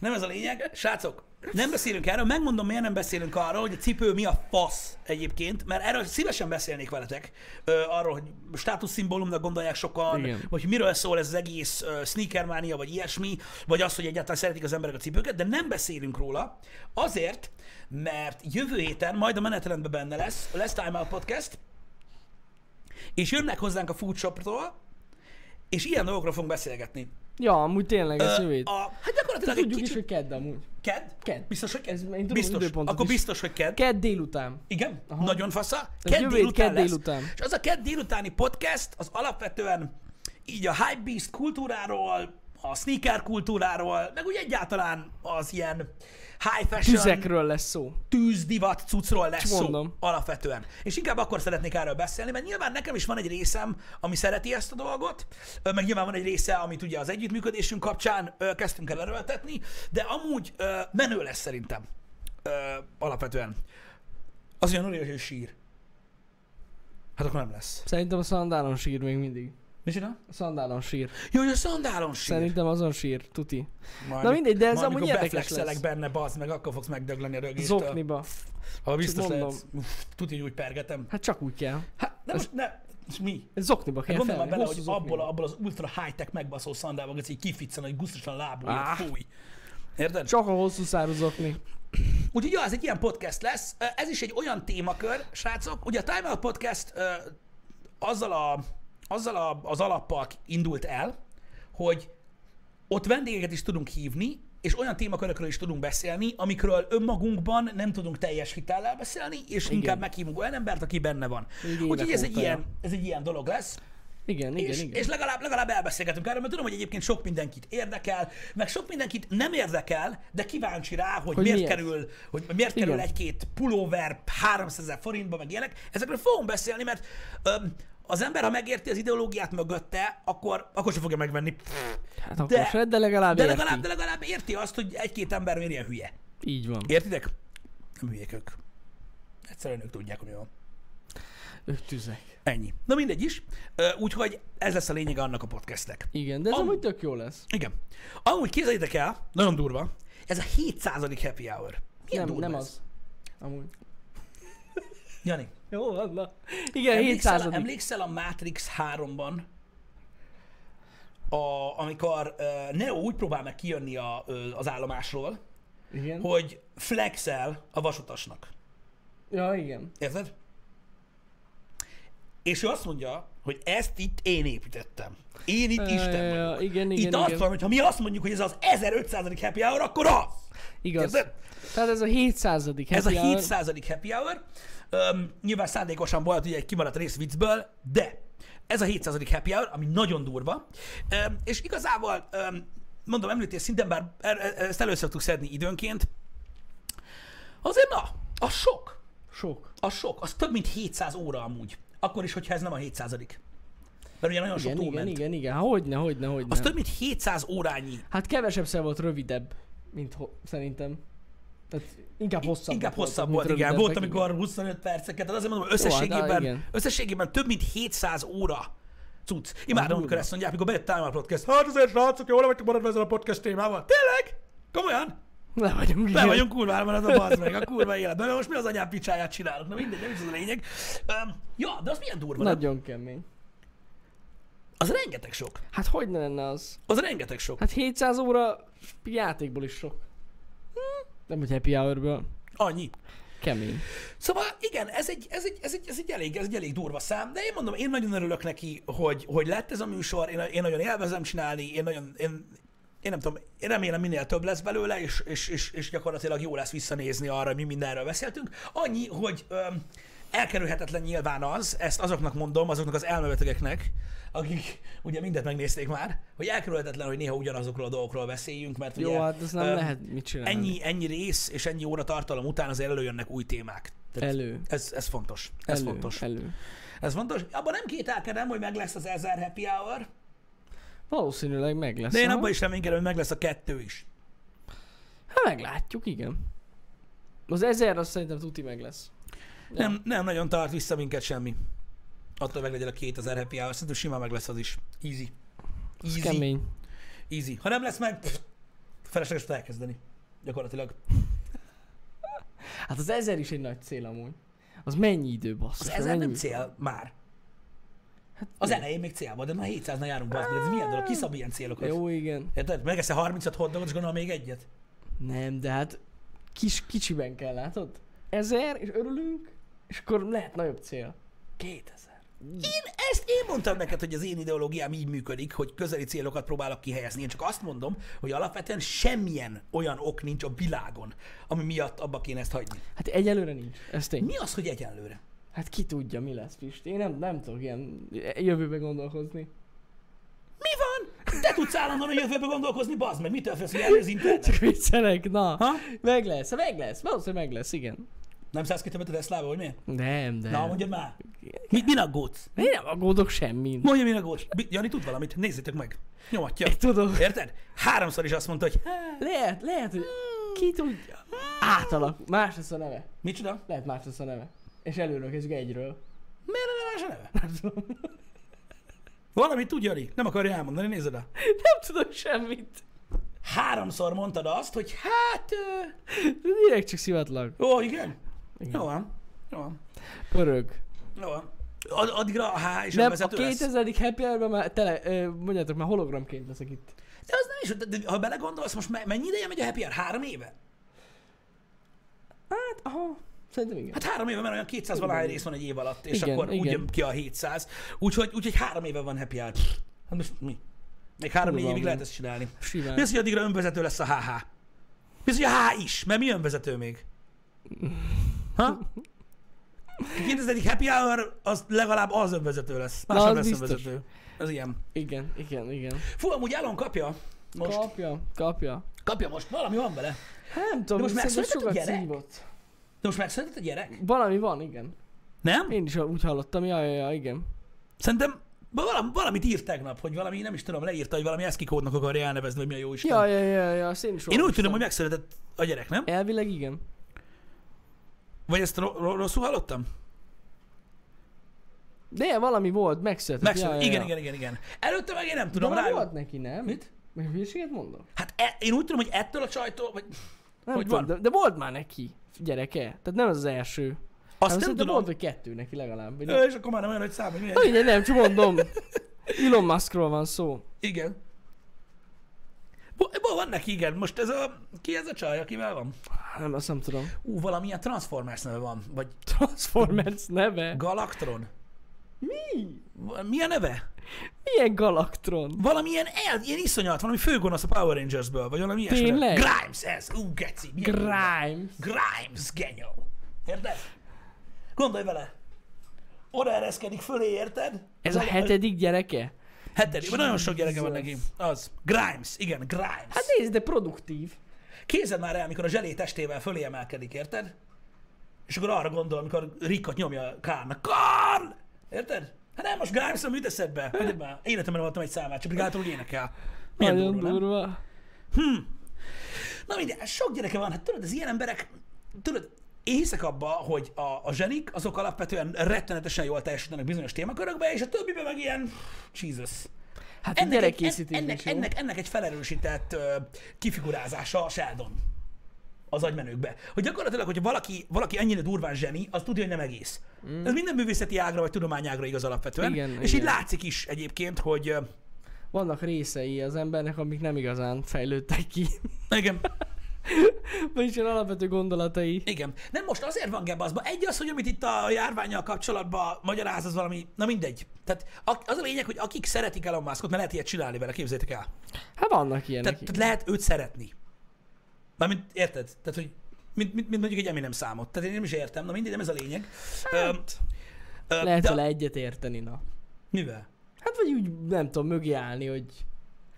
A: Nem ez a lényeg. Srácok, nem beszélünk erről, megmondom, miért nem beszélünk arról, hogy a cipő mi a fasz egyébként, mert erről szívesen beszélnék veletek, ö, arról, hogy státuszszimbólumnak gondolják sokan,
B: Igen.
A: vagy hogy miről szól ez az egész ö, sneakermánia, vagy ilyesmi, vagy az, hogy egyáltalán szeretik az emberek a cipőket, de nem beszélünk róla, azért, mert jövő héten majd a menetrendben benne lesz, lesz Time Out Podcast, és jönnek hozzánk a Food Shoptól, és ilyen dolgokról fogunk beszélgetni.
B: Ja, amúgy tényleg ez
A: Ö,
B: jövét.
A: a, hát gyakorlatilag egy
B: Tudjuk is,
A: kicsit...
B: hogy kedd amúgy.
A: Ked?
B: Kedd.
A: Biztos, hogy ked?
B: Ez- én tudom az
A: biztos.
B: időpontot
A: Akkor
B: is.
A: biztos, hogy ked.
B: Kedd délután.
A: Igen, Aha.
B: Aha.
A: nagyon fasza. Kedd
B: jövő hét
A: délután
B: kedd
A: lesz.
B: délután.
A: És az a kedd délutáni podcast, az alapvetően így a hypebeast kultúráról, a sneaker kultúráról, meg úgy egyáltalán az ilyen high fashion,
B: Tüzekről lesz szó.
A: tűzdivat cuccról lesz
B: Csak
A: szó
B: mondom.
A: alapvetően. És inkább akkor szeretnék erről beszélni, mert nyilván nekem is van egy részem, ami szereti ezt a dolgot, ö, meg nyilván van egy része, amit ugye az együttműködésünk kapcsán ö, kezdtünk el erőltetni, de amúgy ö, menő lesz szerintem ö, alapvetően. Az olyan Nori, hogy ő sír. Hát akkor nem lesz.
B: Szerintem a szandálon sír még mindig.
A: Mi csinál?
B: A szandálon sír.
A: Jó, hogy a szandálon sír.
B: Szerintem azon sír, tuti.
A: Majd,
B: Na mindegy, de ez amúgy
A: amikor
B: érdekes
A: beflexelek
B: lesz.
A: benne, bazd meg, akkor fogsz megdögleni a rögéstől.
B: Zokniba.
A: Ha biztos
B: mondom.
A: lehet. Tudja, hogy úgy pergetem.
B: Hát csak úgy kell.
A: Hát, de most ne, és mi? Hát
B: Ez zokniba kell
A: Gondolj már
B: felni,
A: bele,
B: hosszú
A: hogy
B: zokniba.
A: abból, a- abból az ultra high-tech megbaszó szandából, hogy így kificcen, hogy gusztusan lábújja,
B: Áh.
A: fúj. Érted?
B: Csak a hosszú szárú zokni.
A: Úgyhogy ja, ez egy ilyen podcast lesz. Ez is egy olyan témakör, srácok. Ugye a Time Out Podcast ö, azzal, a, azzal a, az alappal indult el, hogy ott vendégeket is tudunk hívni, és olyan témakörökről is tudunk beszélni, amikről önmagunkban nem tudunk teljes hitellel beszélni, és igen. inkább meghívunk olyan embert, aki benne van.
B: Így
A: Úgyhogy
B: évek
A: ez egy,
B: óta,
A: ilyen, ez egy ilyen dolog lesz.
B: Igen, igen,
A: és,
B: igen.
A: és legalább, legalább elbeszélgetünk erről, mert tudom, hogy egyébként sok mindenkit érdekel, meg sok mindenkit nem érdekel, de kíváncsi rá, hogy, hogy miért
B: miért?
A: kerül, hogy miért kerül
B: Igen.
A: egy-két pulóver 300 ezer forintba, meg ilyenek. Ezekről fogunk beszélni, mert öm, az ember, ha megérti az ideológiát mögötte, akkor, akkor sem fogja megvenni.
B: Hát akkor
A: de-
B: de, se, de legalább
A: De
B: érti.
A: legalább, de legalább érti azt, hogy egy-két ember miért ilyen hülye.
B: Így van.
A: Értitek? Nem hülyék ők. Egyszerűen ők tudják, hogy mi van.
B: Ők Öh, tüzek.
A: Ennyi. Na mindegy is. Ö, Úgyhogy ez lesz a lényege annak a podcastnek.
B: Igen, de ez
A: Am-
B: amúgy tök jó lesz.
A: Igen. Amúgy képzeljétek el, nagyon durva, ez a 700. happy hour. Milyen
B: nem,
A: durva
B: nem
A: ez?
B: az. Amúgy.
A: Jani,
B: Jó, van, na. Igen,
A: emlékszel,
B: 700
A: emlékszel a Matrix 3-ban, a, amikor uh, Neo úgy próbál meg kijönni a, ö, az állomásról,
B: Igen.
A: hogy flexel a vasutasnak.
B: Ja, igen.
A: Érted? És ő azt mondja, hogy ezt itt én építettem. Én itt
B: Ja,
A: Isten
B: ja, ja,
A: vagyok.
B: igen,
A: Itt
B: igen,
A: azt
B: igen.
A: van, hogy ha mi azt mondjuk, hogy ez az 1500. happy hour, akkor az!
B: Igaz.
A: Érted?
B: Tehát ez a 700 happy
A: Ez a
B: hour.
A: 700. happy hour. Um, nyilván szándékosan volt ugye egy kimaradt rész viccből, de ez a 700. happy hour, ami nagyon durva. Um, és igazából, um, mondom, említés szinten, bár er- e- ezt előszoktuk szedni időnként, azért na, a sok,
B: Sok.
A: a sok, az több mint 700 óra amúgy. Akkor is, hogyha ez nem a 700. Mert ugye nagyon sok
B: Igen, igen,
A: túlment.
B: igen, igen. Há, Hogyne, hogyne, hogyne.
A: Az több mint 700 órányi
B: Hát kevesebb szer volt rövidebb, mint ho- szerintem. Tehát inkább hosszabb
A: Inkább hosszabb
B: mint
A: volt, igen.
B: rövidebbek,
A: Volt, amikor 25 perceket, tehát azért mondom, hogy
B: Jó, hát, á,
A: összességében,
B: igen.
A: összességében több mint 700 óra cucc. Imádom, amikor
B: durva.
A: ezt mondják, amikor bejött Time Out Podcast. Hát azért, srácok, jól vagytok maradva ezzel a podcast témával. Tényleg? Komolyan?
B: Le vagyunk,
A: Le
B: igen.
A: vagyunk kurvára maradva, bazd meg, a kurva életben. Na most mi az anyám picsáját csinálunk? Na mindegy, nem is az a lényeg. Um, ja, de az milyen durva, nem?
B: Nagyon kemény.
A: Az rengeteg sok.
B: Hát hogy ne lenne az?
A: Az rengeteg sok.
B: Hát 700 óra játékból is sok. Hm, Nem, hogy happy hourből.
A: Annyi.
B: Kemény.
A: Szóval igen, ez egy, ez egy, ez egy, ez egy, elég, ez egy elég durva szám, de én mondom, én nagyon örülök neki, hogy, hogy lett ez a műsor, én, én nagyon élvezem csinálni, én nagyon, én, én nem tudom, én remélem minél több lesz belőle, és, és, és, és gyakorlatilag jó lesz visszanézni arra, mi mindenről beszéltünk. Annyi, hogy öm, elkerülhetetlen nyilván az, ezt azoknak mondom, azoknak az elmebetegeknek, akik ugye mindent megnézték már, hogy elkerülhetetlen, hogy néha ugyanazokról a dolgokról beszéljünk, mert
B: Jó,
A: ugye,
B: hát ez nem
A: öm,
B: lehet mit csinálni.
A: ennyi, ennyi rész és ennyi óra tartalom után azért előjönnek új témák.
B: Elő.
A: Ez, ez fontos. Ez
B: elő,
A: fontos.
B: Elő.
A: Ez fontos. Abban nem kételkedem, hogy meg lesz az 1000 happy hour,
B: Valószínűleg meg lesz.
A: de én
B: aha.
A: abban is reménykedem, hogy meg lesz a kettő is.
B: Hát meglátjuk, igen. Az ezer az szerintem tuti meg lesz. Ja.
A: Nem, nem nagyon tart vissza minket semmi. Attól hogy meg legyen a 2000 happy hour, szerintem simán meg lesz az is. Easy.
B: Ez
A: Easy.
B: kemény.
A: Easy. Ha nem lesz meg, pff, felesleges volt elkezdeni. Gyakorlatilag.
B: Hát az ezer is egy nagy cél amúgy. Az mennyi idő,
A: Az
B: basszus? meg
A: 1000 nem
B: mennyi-
A: cél már.
B: Hát
A: Az elején még cél volt, de már 700-nál járunk, bazd meg. Ez milyen dolog? Kiszab ilyen célokat?
B: Jó, igen.
A: Érted? Megeszel 35 hotdogot, és gondolom még egyet?
B: Nem, de hát kis, kicsiben kell, látod? Ezer, és örülünk, és akkor lehet nagyobb cél. 2000.
A: Én ezt én mondtam neked, hogy az én ideológiám így működik, hogy közeli célokat próbálok kihelyezni. Én csak azt mondom, hogy alapvetően semmilyen olyan ok nincs a világon, ami miatt abba kéne ezt hagyni.
B: Hát egyelőre nincs, ez tény.
A: Mi az, hogy egyenlőre?
B: Hát ki tudja, mi lesz, Pisti. Én nem, nem tudok ilyen jövőbe gondolkozni.
A: Mi van? Te tudsz állandóan a jövőbe gondolkozni, bazd meg, mitől félsz, hogy elő az internet?
B: Csak viccelek, na.
A: Ha?
B: Meg lesz, meg lesz, valószínűleg meg lesz, igen.
A: Nem szállsz ki többet a Tesla-ba, hogy mi?
B: Nem, de.
A: Na, mondjad már. Mi, min aggódsz?
B: Én nem aggódok semmin.
A: Mondja, min aggódsz? Mi- Jani tud valamit? Nézzétek meg. Nyomatja.
B: Én tudom.
A: Érted? Háromszor is azt mondta, hogy
B: Lehet, lehet, hogy ki tudja. Átalakul. Más lesz a neve.
A: micsoda?
B: Lehet más lesz a neve. És előről kezdjük egyről.
A: Miért lenne más a neve? Nem tudom. Valamit tud, Jani. Nem akarja elmondani, nézed el.
B: Nem tudok semmit.
A: háromszor mondtad azt, hogy hát...
B: Direkt csak szivatlak.
A: Ö... Ó, igen?
B: Igen.
A: Jó van. Jó van.
B: Pörög.
A: Jó van. Ad, addigra a H és a
B: Nem, a
A: vezető lesz.
B: 2000. happy hour már tele, ö, mondjátok, már hologramként leszek itt.
A: De az nem is, de, de, ha belegondolsz, most me- mennyi ideje megy a happy hour? Három éve?
B: Hát, aha, szerintem igen.
A: Hát három éve, mert olyan 200 valahány rész van egy év alatt, és
B: Igen,
A: akkor úgy
B: igen.
A: jön ki a 700. Úgyhogy, úgyhogy három éve van happy hour. Pff, Hát most mi? Még három-négy
B: Durva
A: évig
B: amúgy.
A: lehet ezt csinálni.
B: Simán.
A: Mi az, hogy addigra önvezető lesz a HH? Mi az, hogy a H is? Mert mi önvezető még? Ha? 2001 happy hour, az legalább az önvezető lesz. Más
B: Na,
A: nem
B: az
A: lesz
B: biztos.
A: önvezető. Ez ilyen.
B: Igen, igen, igen.
A: Fú, amúgy Elon kapja. Most.
B: Kapja, kapja.
A: Kapja most. Valami van vele.
B: Hát nem tudom,
A: De most
B: szerintem
A: megszületett a
B: sokat
A: gyerek?
B: szívott.
A: De most megszületett a gyerek?
B: Valami van, igen.
A: Nem?
B: Én is úgy hallottam, ja, ja, ja, igen.
A: Szerintem valam, valamit írt tegnap, hogy valami, nem is tudom, leírta, hogy valami eszki kódnak akarja elnevezni, hogy mi a jó Isten.
B: Ja, ja, ja, ja, azt én is
A: Én úgy
B: olvastam.
A: tudom, hogy megszületett a gyerek, nem?
B: Elvileg igen.
A: Vagy ezt ro- ro- rosszul hallottam?
B: De valami volt, megszületett.
A: Megszületett. igen, igen, igen, igen. Előtte meg én nem
B: Tudom,
A: tudom
B: De valami
A: rá.
B: volt neki, nem?
A: Mit?
B: Még hülyeséget mondok?
A: Hát e, én úgy tudom, hogy ettől a csajtól, vagy
B: Nem
A: Hogy
B: tudom,
A: van?
B: De, de, volt már neki gyereke. Tehát nem az, az első.
A: azt nem
B: Hát szerintem
A: tudom.
B: Volt, hogy kettő neki legalább. Vagy
A: Ö, és akkor már nem olyan nagy szám, hogy milyen.
B: Na, igen, nem, csak mondom. Elon Muskról van szó.
A: Igen. Bo- bo- van neki, igen. Most ez a... Ki ez a csaj, akivel van?
B: Nem, azt nem tudom.
A: Ú, valamilyen Transformers neve van. Vagy
B: Transformers neve?
A: Galaktron.
B: Mi?
A: Va- Mi a neve?
B: Milyen Galaktron?
A: Valamilyen el, ilyen iszonyat, valami főgonosz a Power Rangersből, vagy valami ilyesmi.
B: Tényleg?
A: Grimes ez, ú, geci. milyen jó.
B: Grimes.
A: Grimes, genyó. Érted? Gondolj vele. Oda ereszkedik fölé, érted?
B: Ez a hetedik gyereke?
A: Hetedik. Vagy Nagyon sok gyereke van
B: Jesus.
A: neki. Az. Grimes, igen, Grimes.
B: Hát
A: Hát,
B: nézd, de produktív.
A: Képzeld már el, amikor a zselé testével fölé emelkedik, érted? És akkor arra gondol, amikor Rikat nyomja Kárnak. Karl! Érted? Hát nem, most Grimes nem jut eszedbe. Hagyjad már. Hát Életemben nem hallottam egy számát, csak brigátor énekel. Milyen
B: Nagyon
A: durva, nem?
B: durva.
A: Na mindegy, sok gyereke van, hát tudod, az ilyen emberek, tudod, én hiszek abba, hogy a, a zsenik azok alapvetően rettenetesen jól teljesítenek bizonyos témakörökbe, és a többiben meg ilyen Jesus.
B: Hát
A: Ennek,
B: a
A: egy, en-
B: gyerekkészítés
A: ennek,
B: is jó.
A: ennek, ennek egy felerősített ö, kifigurázása a Sheldon az agymenőkbe. Hogy gyakorlatilag, hogyha valaki, valaki ennyire durván zseni, az tudja, hogy nem egész. Mm. Ez minden művészeti ágra vagy tudományágra igaz alapvetően.
B: Igen,
A: és így
B: igen.
A: látszik is egyébként, hogy ö,
B: Vannak részei az embernek, amik nem igazán fejlődtek ki.
A: igen,
B: Vagyis ilyen alapvető gondolatai.
A: Igen. Nem most azért van gebaszba. Egy az, hogy amit itt a járványjal kapcsolatban magyaráz, az valami, na mindegy. Tehát ak- az a lényeg, hogy akik szeretik Elon Muskot, mert lehet ilyet csinálni vele, képzeljétek el.
B: Hát vannak ilyenek.
A: Tehát, tehát lehet őt szeretni. Mármint, érted? Tehát, hogy mint, mint, mint mondjuk egy Eminem számot. Tehát én nem is értem, na mindegy, nem ez a lényeg. Öm, öm,
B: Hát, Lehet
A: de-
B: vele egyet érteni, na.
A: Mivel?
B: Hát vagy úgy, nem tudom, mögé állni, hogy...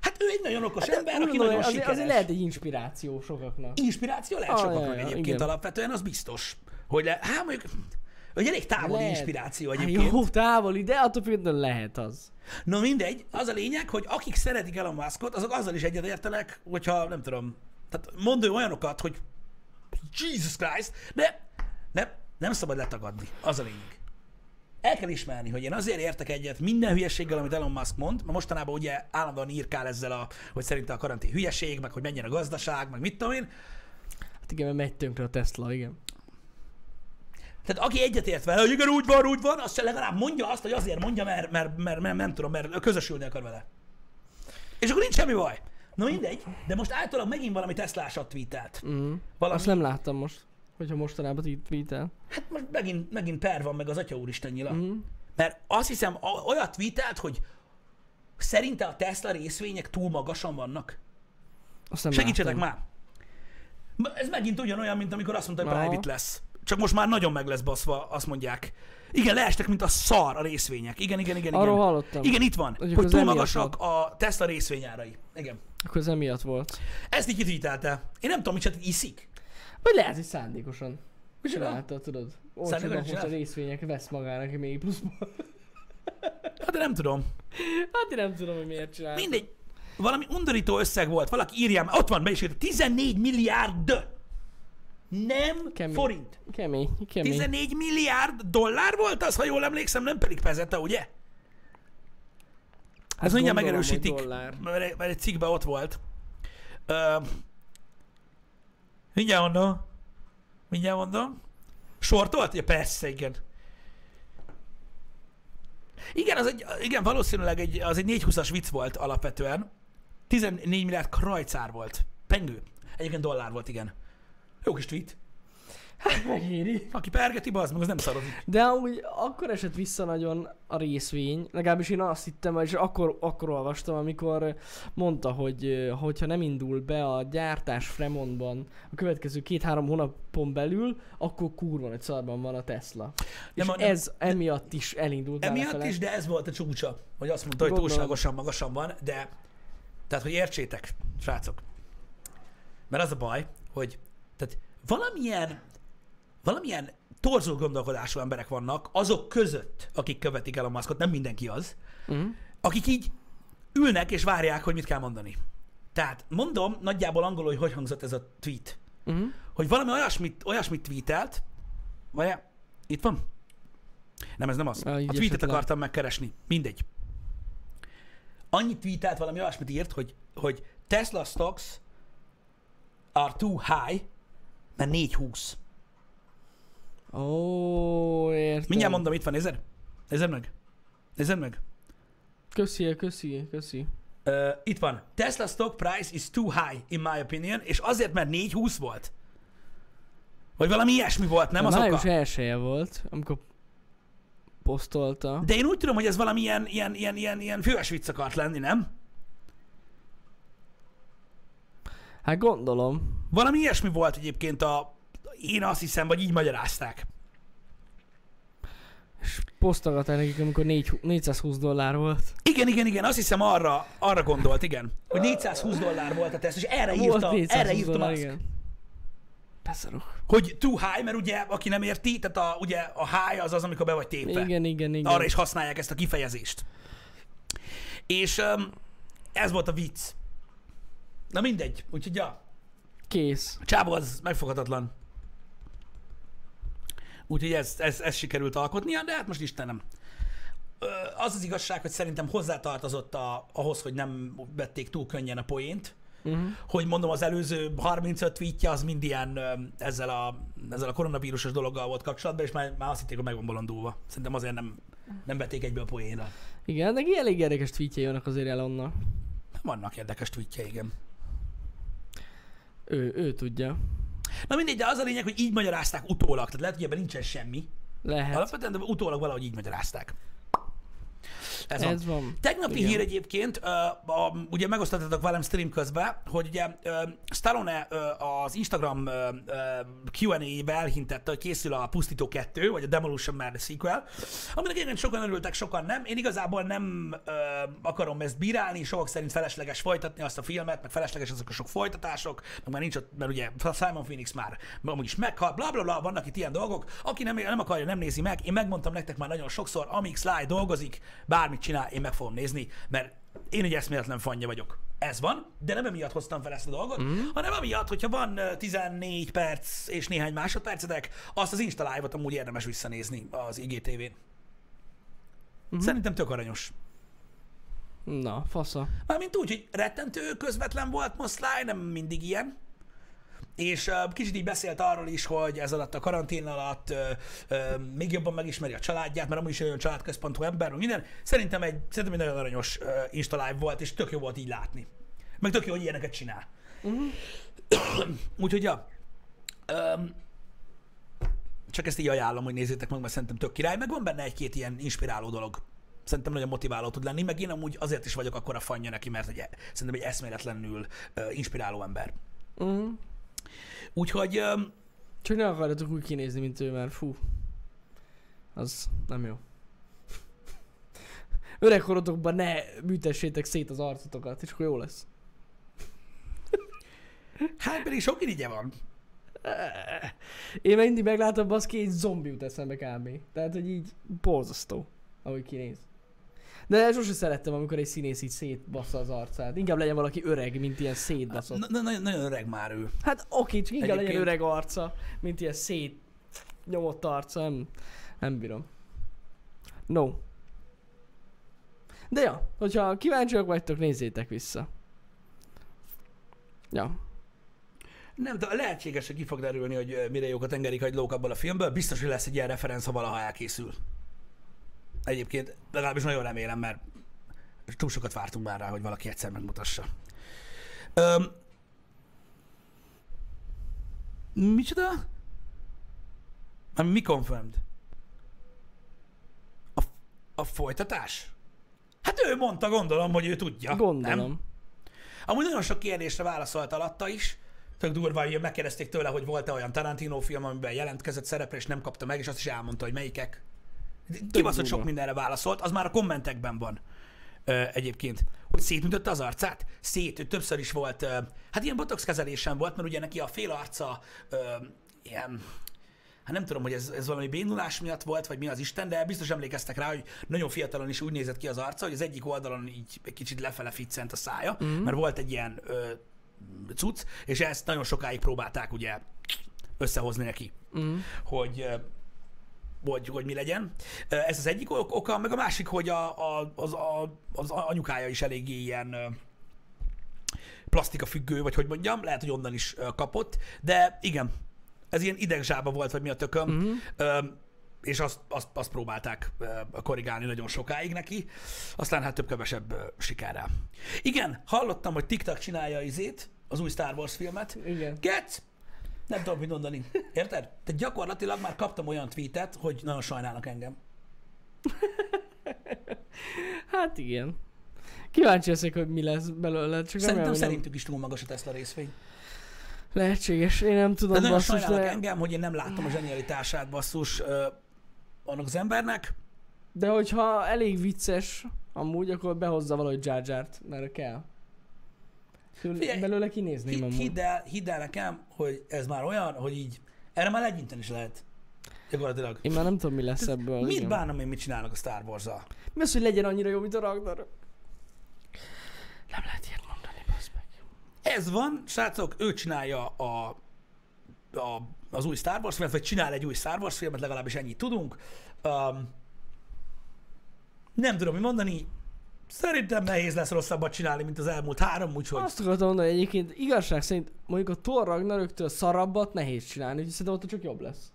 A: Hát ő egy nagyon okos hát, ember, aki
B: Gondolom,
A: nagyon
B: azért,
A: sikeres.
B: azért lehet egy inspiráció sokaknak.
A: Inspiráció lehet
B: Ah,
A: sokaknak
B: jaj, jaj,
A: egyébként
B: igen.
A: alapvetően, az biztos. Hogy le... Hát mondjuk, hogy elég távoli
B: Lehet.
A: inspiráció
B: Hát
A: egyébként.
B: jó, távoli, de attól függetlenül lehet az.
A: Na mindegy, az a lényeg, hogy akik szeretik Elon Muskot, azok azzal is egyetértenek, hogyha nem tudom, tehát mondja olyanokat, hogy Jesus Christ, de nem, nem szabad letagadni, az a lényeg. El kell ismerni, hogy én azért értek egyet minden hülyeséggel, amit Elon Musk mond, mert mostanában ugye állandóan írkál ezzel, a, hogy szerinte a karantén hülyeség, meg hogy menjen a gazdaság, meg mit tudom én.
B: Hát igen, mert megy tönkre a Tesla, igen.
A: Tehát aki egyetért vele, hogy igen, úgy van, úgy van, azt se legalább mondja azt, hogy azért mondja, mert, mert, mert, mert nem tudom, mert közösülni akar vele. És akkor nincs semmi baj. Na mindegy, de most általában megint valami Teslásat tweetelt.
B: Mm.
A: Valami,
B: Azt nem láttam most, hogyha mostanában itt tweetel.
A: hát most megint, megint per van meg az Atya Úristen nyila.
B: Mhm.
A: Mert azt hiszem, a- olyat tweetelt, hogy szerinte a Tesla részvények túl magasan vannak.
B: Azt nem
A: Segítsetek
B: láttam.
A: már! M- Ez megint ugyanolyan, mint amikor azt mondta, hogy
B: Aha.
A: private lesz. Csak most már nagyon meg lesz baszva, azt mondják. Igen, leestek, mint a szar a részvények. Igen, igen, igen,
B: Arról
A: igen.
B: hallottam.
A: Igen, itt van,
B: Mondjuk
A: hogy
B: az
A: túl
B: emiatt
A: magasak a Tesla részvényárai. Igen.
B: Akkor ez emiatt volt.
A: Ezt így kitvítelte. Én nem tudom, mit csak iszik.
B: Vagy lehet, hogy szándékosan.
A: Micsoda?
B: Csinálta, tudod?
A: Szándékosan
B: Olcsóban most a
A: csinált?
B: részvények vesz magának még pluszban.
A: Hát de nem tudom.
B: Hát én nem tudom, hogy miért csinálta.
A: Mindegy. Valami undorító összeg volt. Valaki írja, már- ott van, be is írta. 14 milliárd. Nem
B: Kemény.
A: forint.
B: Kemény, kemény.
A: 14 milliárd dollár volt az, ha jól emlékszem, nem pedig pezete, ugye?
B: Hát
A: Ez mindjárt
B: gondolom, hogy
A: megerősítik,
B: dollár.
A: mert egy- mert egy cikkben ott volt. Ö, mindjárt mondom. Mindjárt mondom. Sortolt? Ja, persze, igen. Igen, az egy, igen valószínűleg egy, az egy 420-as vicc volt alapvetően. 14 milliárd krajcár volt. Pengő. Egyébként dollár volt, igen. Jó kis tweet.
B: Hát Megéri.
A: Aki pergeti, bazd meg, az nem szarodik.
B: De amúgy akkor esett vissza nagyon a részvény, legalábbis én azt hittem, és akkor, akkor olvastam, amikor mondta, hogy hogyha nem indul be a gyártás Fremontban a következő két-három hónapon belül, akkor kurva egy szarban van a Tesla.
A: Nem,
B: és
A: a- nem-
B: ez emiatt is elindult
A: Emiatt
B: mellefele.
A: is, de ez volt a csúcsa, hogy azt mondta, hogy
B: Gondolom.
A: túlságosan magasan van, de tehát, hogy értsétek, srácok. Mert az a baj, hogy tehát valamilyen, valamilyen torzult gondolkodású emberek vannak azok között, akik követik el a maszkot, nem mindenki az,
B: Mhm.
A: akik így ülnek és várják, hogy mit kell mondani. Tehát mondom nagyjából angolul, hogy hogy hangzott ez a tweet.
B: Mhm.
A: Hogy valami olyasmit, olyasmit tweetelt, vagy itt van? Nem, ez nem az.
B: Ah, így
A: a tweetet
B: esetleg.
A: akartam megkeresni. Mindegy. Annyit tweetelt, valami olyasmit írt, hogy, hogy Tesla stocks are too high, mert 420.
B: Ó, értem.
A: Mindjárt mondom, itt van, nézed? Nézed meg? Nézed meg?
B: Köszi, köszi, köszi.
A: Uh, itt van. Tesla stock price is too high, in my opinion, és azért, mert 420 volt. Vagy valami ilyesmi volt, nem az oka?
B: Május elsője volt, amikor posztolta.
A: De én úgy tudom, hogy ez valami ilyen, ilyen, ilyen, ilyen, ilyen főes vicc akart lenni, nem?
B: Hát gondolom.
A: Valami ilyesmi volt egyébként a... Én azt hiszem, vagy így magyarázták.
B: És posztolgatták nekik, amikor 4, 420 dollár volt.
A: Igen, igen, igen, azt hiszem arra, arra gondolt, igen. Hogy 420 dollár volt a teszt, és erre írta, erre írtam azt,
B: Beszarok.
A: hogy too high, mert ugye, aki nem érti, tehát a, ugye a high az az, amikor be vagy tépve.
B: Igen, igen, igen.
A: Arra is használják ezt a kifejezést. És um, ez volt a vicc. Na mindegy, úgyhogy ja,
B: Kész.
A: a csávó az megfoghatatlan. Úgyhogy ez, ez, ez sikerült alkotnia, de hát most Istenem. Ö, Az az igazság, hogy szerintem hozzátartozott a, ahhoz, hogy nem vették túl könnyen a poént,
B: Uh-huh.
A: hogy mondom, az előző 35 tweetje az mind ilyen ö, ezzel a, ezzel a koronavírusos dologgal volt kapcsolatban, és már, már azt hitték, hogy meg van bolondulva. Szerintem azért nem, nem vették egyből a poénra.
B: Igen, neki elég érdekes tweetjei vannak azért Elonnak.
A: Vannak érdekes tweetje, igen.
B: Ő, ő tudja.
A: Na mindegy, de az a lényeg, hogy így magyarázták utólag. Tehát lehet, hogy ebben nincsen semmi.
B: Lehet.
A: Alapvetően de utólag valahogy így magyarázták. Ez, Ez
B: Ez
A: van.
B: van.
A: Tegnapi
B: Igen.
A: hír egyébként, ö, a, ugye megosztottatok velem stream közben, hogy ugye ö, Stallone ö, az Instagram ö, ö, Q&A-be elhintette, hogy készül a Pusztító 2, vagy a Demolition Man sequel, aminek igen sokan örültek, sokan nem. Én igazából nem ö, akarom ezt bírálni, sokak szerint felesleges folytatni azt a filmet, meg felesleges azok a sok folytatások, meg már nincs ott, mert ugye Simon Phoenix már amúgy is meghalt, bla bla bla, vannak itt ilyen dolgok, aki nem, nem akarja, nem nézi meg. Én megmondtam nektek már nagyon sokszor, amíg Sly dolgozik, bármit csinál, én meg fogom nézni, mert én egy eszméletlen fanja vagyok. Ez van, de nem emiatt hoztam fel ezt a dolgot, mm. hanem amiatt, hogyha van ö, 14 perc és néhány másodpercetek, azt az Insta Live-ot amúgy érdemes visszanézni az IGTV-n. Szerintem tök aranyos.
B: Na, fasza.
A: Mármint úgy, hogy rettentő közvetlen volt Moszláj, nem mindig ilyen. És uh, kicsit így beszélt arról is, hogy ez alatt a karantén alatt uh, uh, még jobban megismeri a családját, mert amúgy is egy olyan családközpontú ember, meg minden. Szerintem egy, szerintem egy nagyon aranyos uh, Insta Live volt, és tök jó volt így látni. Meg tök jó, hogy ilyeneket csinál. Úgyhogy ja, um, csak ezt így ajánlom, hogy nézzétek meg, mert szerintem tök király, meg van benne egy-két ilyen inspiráló dolog. Szerintem nagyon motiváló tud lenni, meg én amúgy azért is vagyok akkora fanja neki, mert egy, e- szerintem egy eszméletlenül uh, inspiráló ember.
B: Uh-huh.
A: Úgyhogy um,
B: Csak ne akarjatok úgy kinézni, mint ő, mert fú. Az nem jó. Öregkorotokban ne bűtessétek szét az arcotokat, és akkor jó lesz.
A: hát pedig sok irigye van.
B: Én meg mindig meglátom, baszki, egy zombi jut eszembe kb. Tehát, hogy így borzasztó, ahogy kinéz. De sose szerettem, amikor egy színész így szétbassza az arcát. Inkább legyen valaki öreg, mint ilyen szétbaszott.
A: Na- na- Nagyon nagyon öreg már ő.
B: Hát oké, csak inkább legyen
A: Egyébként-
B: öreg arca, mint ilyen szét nyomott arca, nem, nem bírom. No. De ja, hogyha kíváncsiak vagytok, nézzétek vissza. Ja.
A: Nem, de lehetséges, hogy ki fog derülni, hogy ö, mire jók a tengeri kagylók abból a filmből. Biztos, hogy lesz egy ilyen referenc, ha valaha elkészül. Egyébként legalábbis nagyon remélem, mert túl sokat vártunk már rá, hogy valaki egyszer megmutassa. Öm, micsoda? Ami mi confirmed? A, a folytatás? Hát ő mondta, gondolom, hogy ő tudja.
B: Gondolom.
A: Nem? Amúgy nagyon sok kérdésre válaszolt alatta is. Tök durva, hogy megkérdezték tőle, hogy volt-e olyan Tarantino film, amiben jelentkezett szerepre, és nem kapta meg, és azt is elmondta, hogy melyikek. Kibaszott sok
B: durva.
A: mindenre válaszolt, az már a kommentekben van ö, egyébként. Hogy szétmutatta az arcát? Szét, ő többször is volt, ö, hát ilyen botox kezelésen volt, mert ugye neki a fél arca ö, ilyen, hát nem tudom, hogy ez, ez valami bénulás miatt volt, vagy mi az Isten, de biztos emlékeztek rá, hogy nagyon fiatalon is úgy nézett ki az arca, hogy az egyik oldalon így egy kicsit lefele ficcent a szája, mm. mert volt egy ilyen ö, cucc, és ezt nagyon sokáig próbálták ugye összehozni neki, mm. hogy ö, hogy, hogy mi legyen. Ö, Ez az egyik ok- oka, meg a másik, hogy a, a, az, a, az anyukája is eléggé ilyen ö, plastika függő, vagy hogy mondjam, lehet, hogy onnan is ö, kapott, de igen, ez ilyen idegzsába volt, vagy mi a tököm, mm-hmm. és azt, azt, azt próbálták ö, korrigálni nagyon sokáig neki, aztán hát több-kevesebb ö, sikerrel. Igen, hallottam, hogy TikTok csinálja izét, az új Star Wars filmet.
B: Igen.
A: Getsz! Nem tudom, mit mondani. Érted? Te gyakorlatilag már kaptam olyan tweetet, hogy nagyon sajnálnak engem.
B: Hát igen. Kíváncsi leszek, hogy mi lesz belőle. Csak remélem,
A: Szerintem
B: hogy nem-
A: szerintük is túl magas a Tesla részvény.
B: Lehetséges, én nem
A: De
B: tudom,
A: nagyon
B: basszus,
A: sajnálnak
B: de,
A: engem, hogy én nem láttam a zsenialitását basszus ö, annak az embernek.
B: de hogyha elég vicces amúgy, akkor behozza valahogy Jar Jar-t, mert kell. Tőle-
A: Figyelj,
B: belőle kinézném
A: Hi-
B: amúgy.
A: Hidd el, hidd el nekem, hogy ez már olyan, hogy így erre már legyinten is lehet. Gyakorlatilag.
B: Én már nem tudom, mi lesz ebből.
A: Mit
B: igen.
A: bánom én, mit csinálnak a Star Wars-zal?
B: Mi az, hogy legyen annyira jó, mint a Ragnar? Nem lehet ilyet mondani, bassz meg.
A: Ez van, srácok, ő csinálja a, a, az új Star Wars filmet, vagy csinál egy új Star Wars filmet, legalábbis ennyit tudunk. Um, nem tudom, mi mondani. Szerintem nehéz lesz rosszabbat csinálni, mint az elmúlt három, úgyhogy...
B: Azt akartam mondani, hogy egyébként igazság szerint mondjuk a Thor Ragnaröktől szarabbat nehéz csinálni, úgyhogy szerintem ott csak jobb lesz.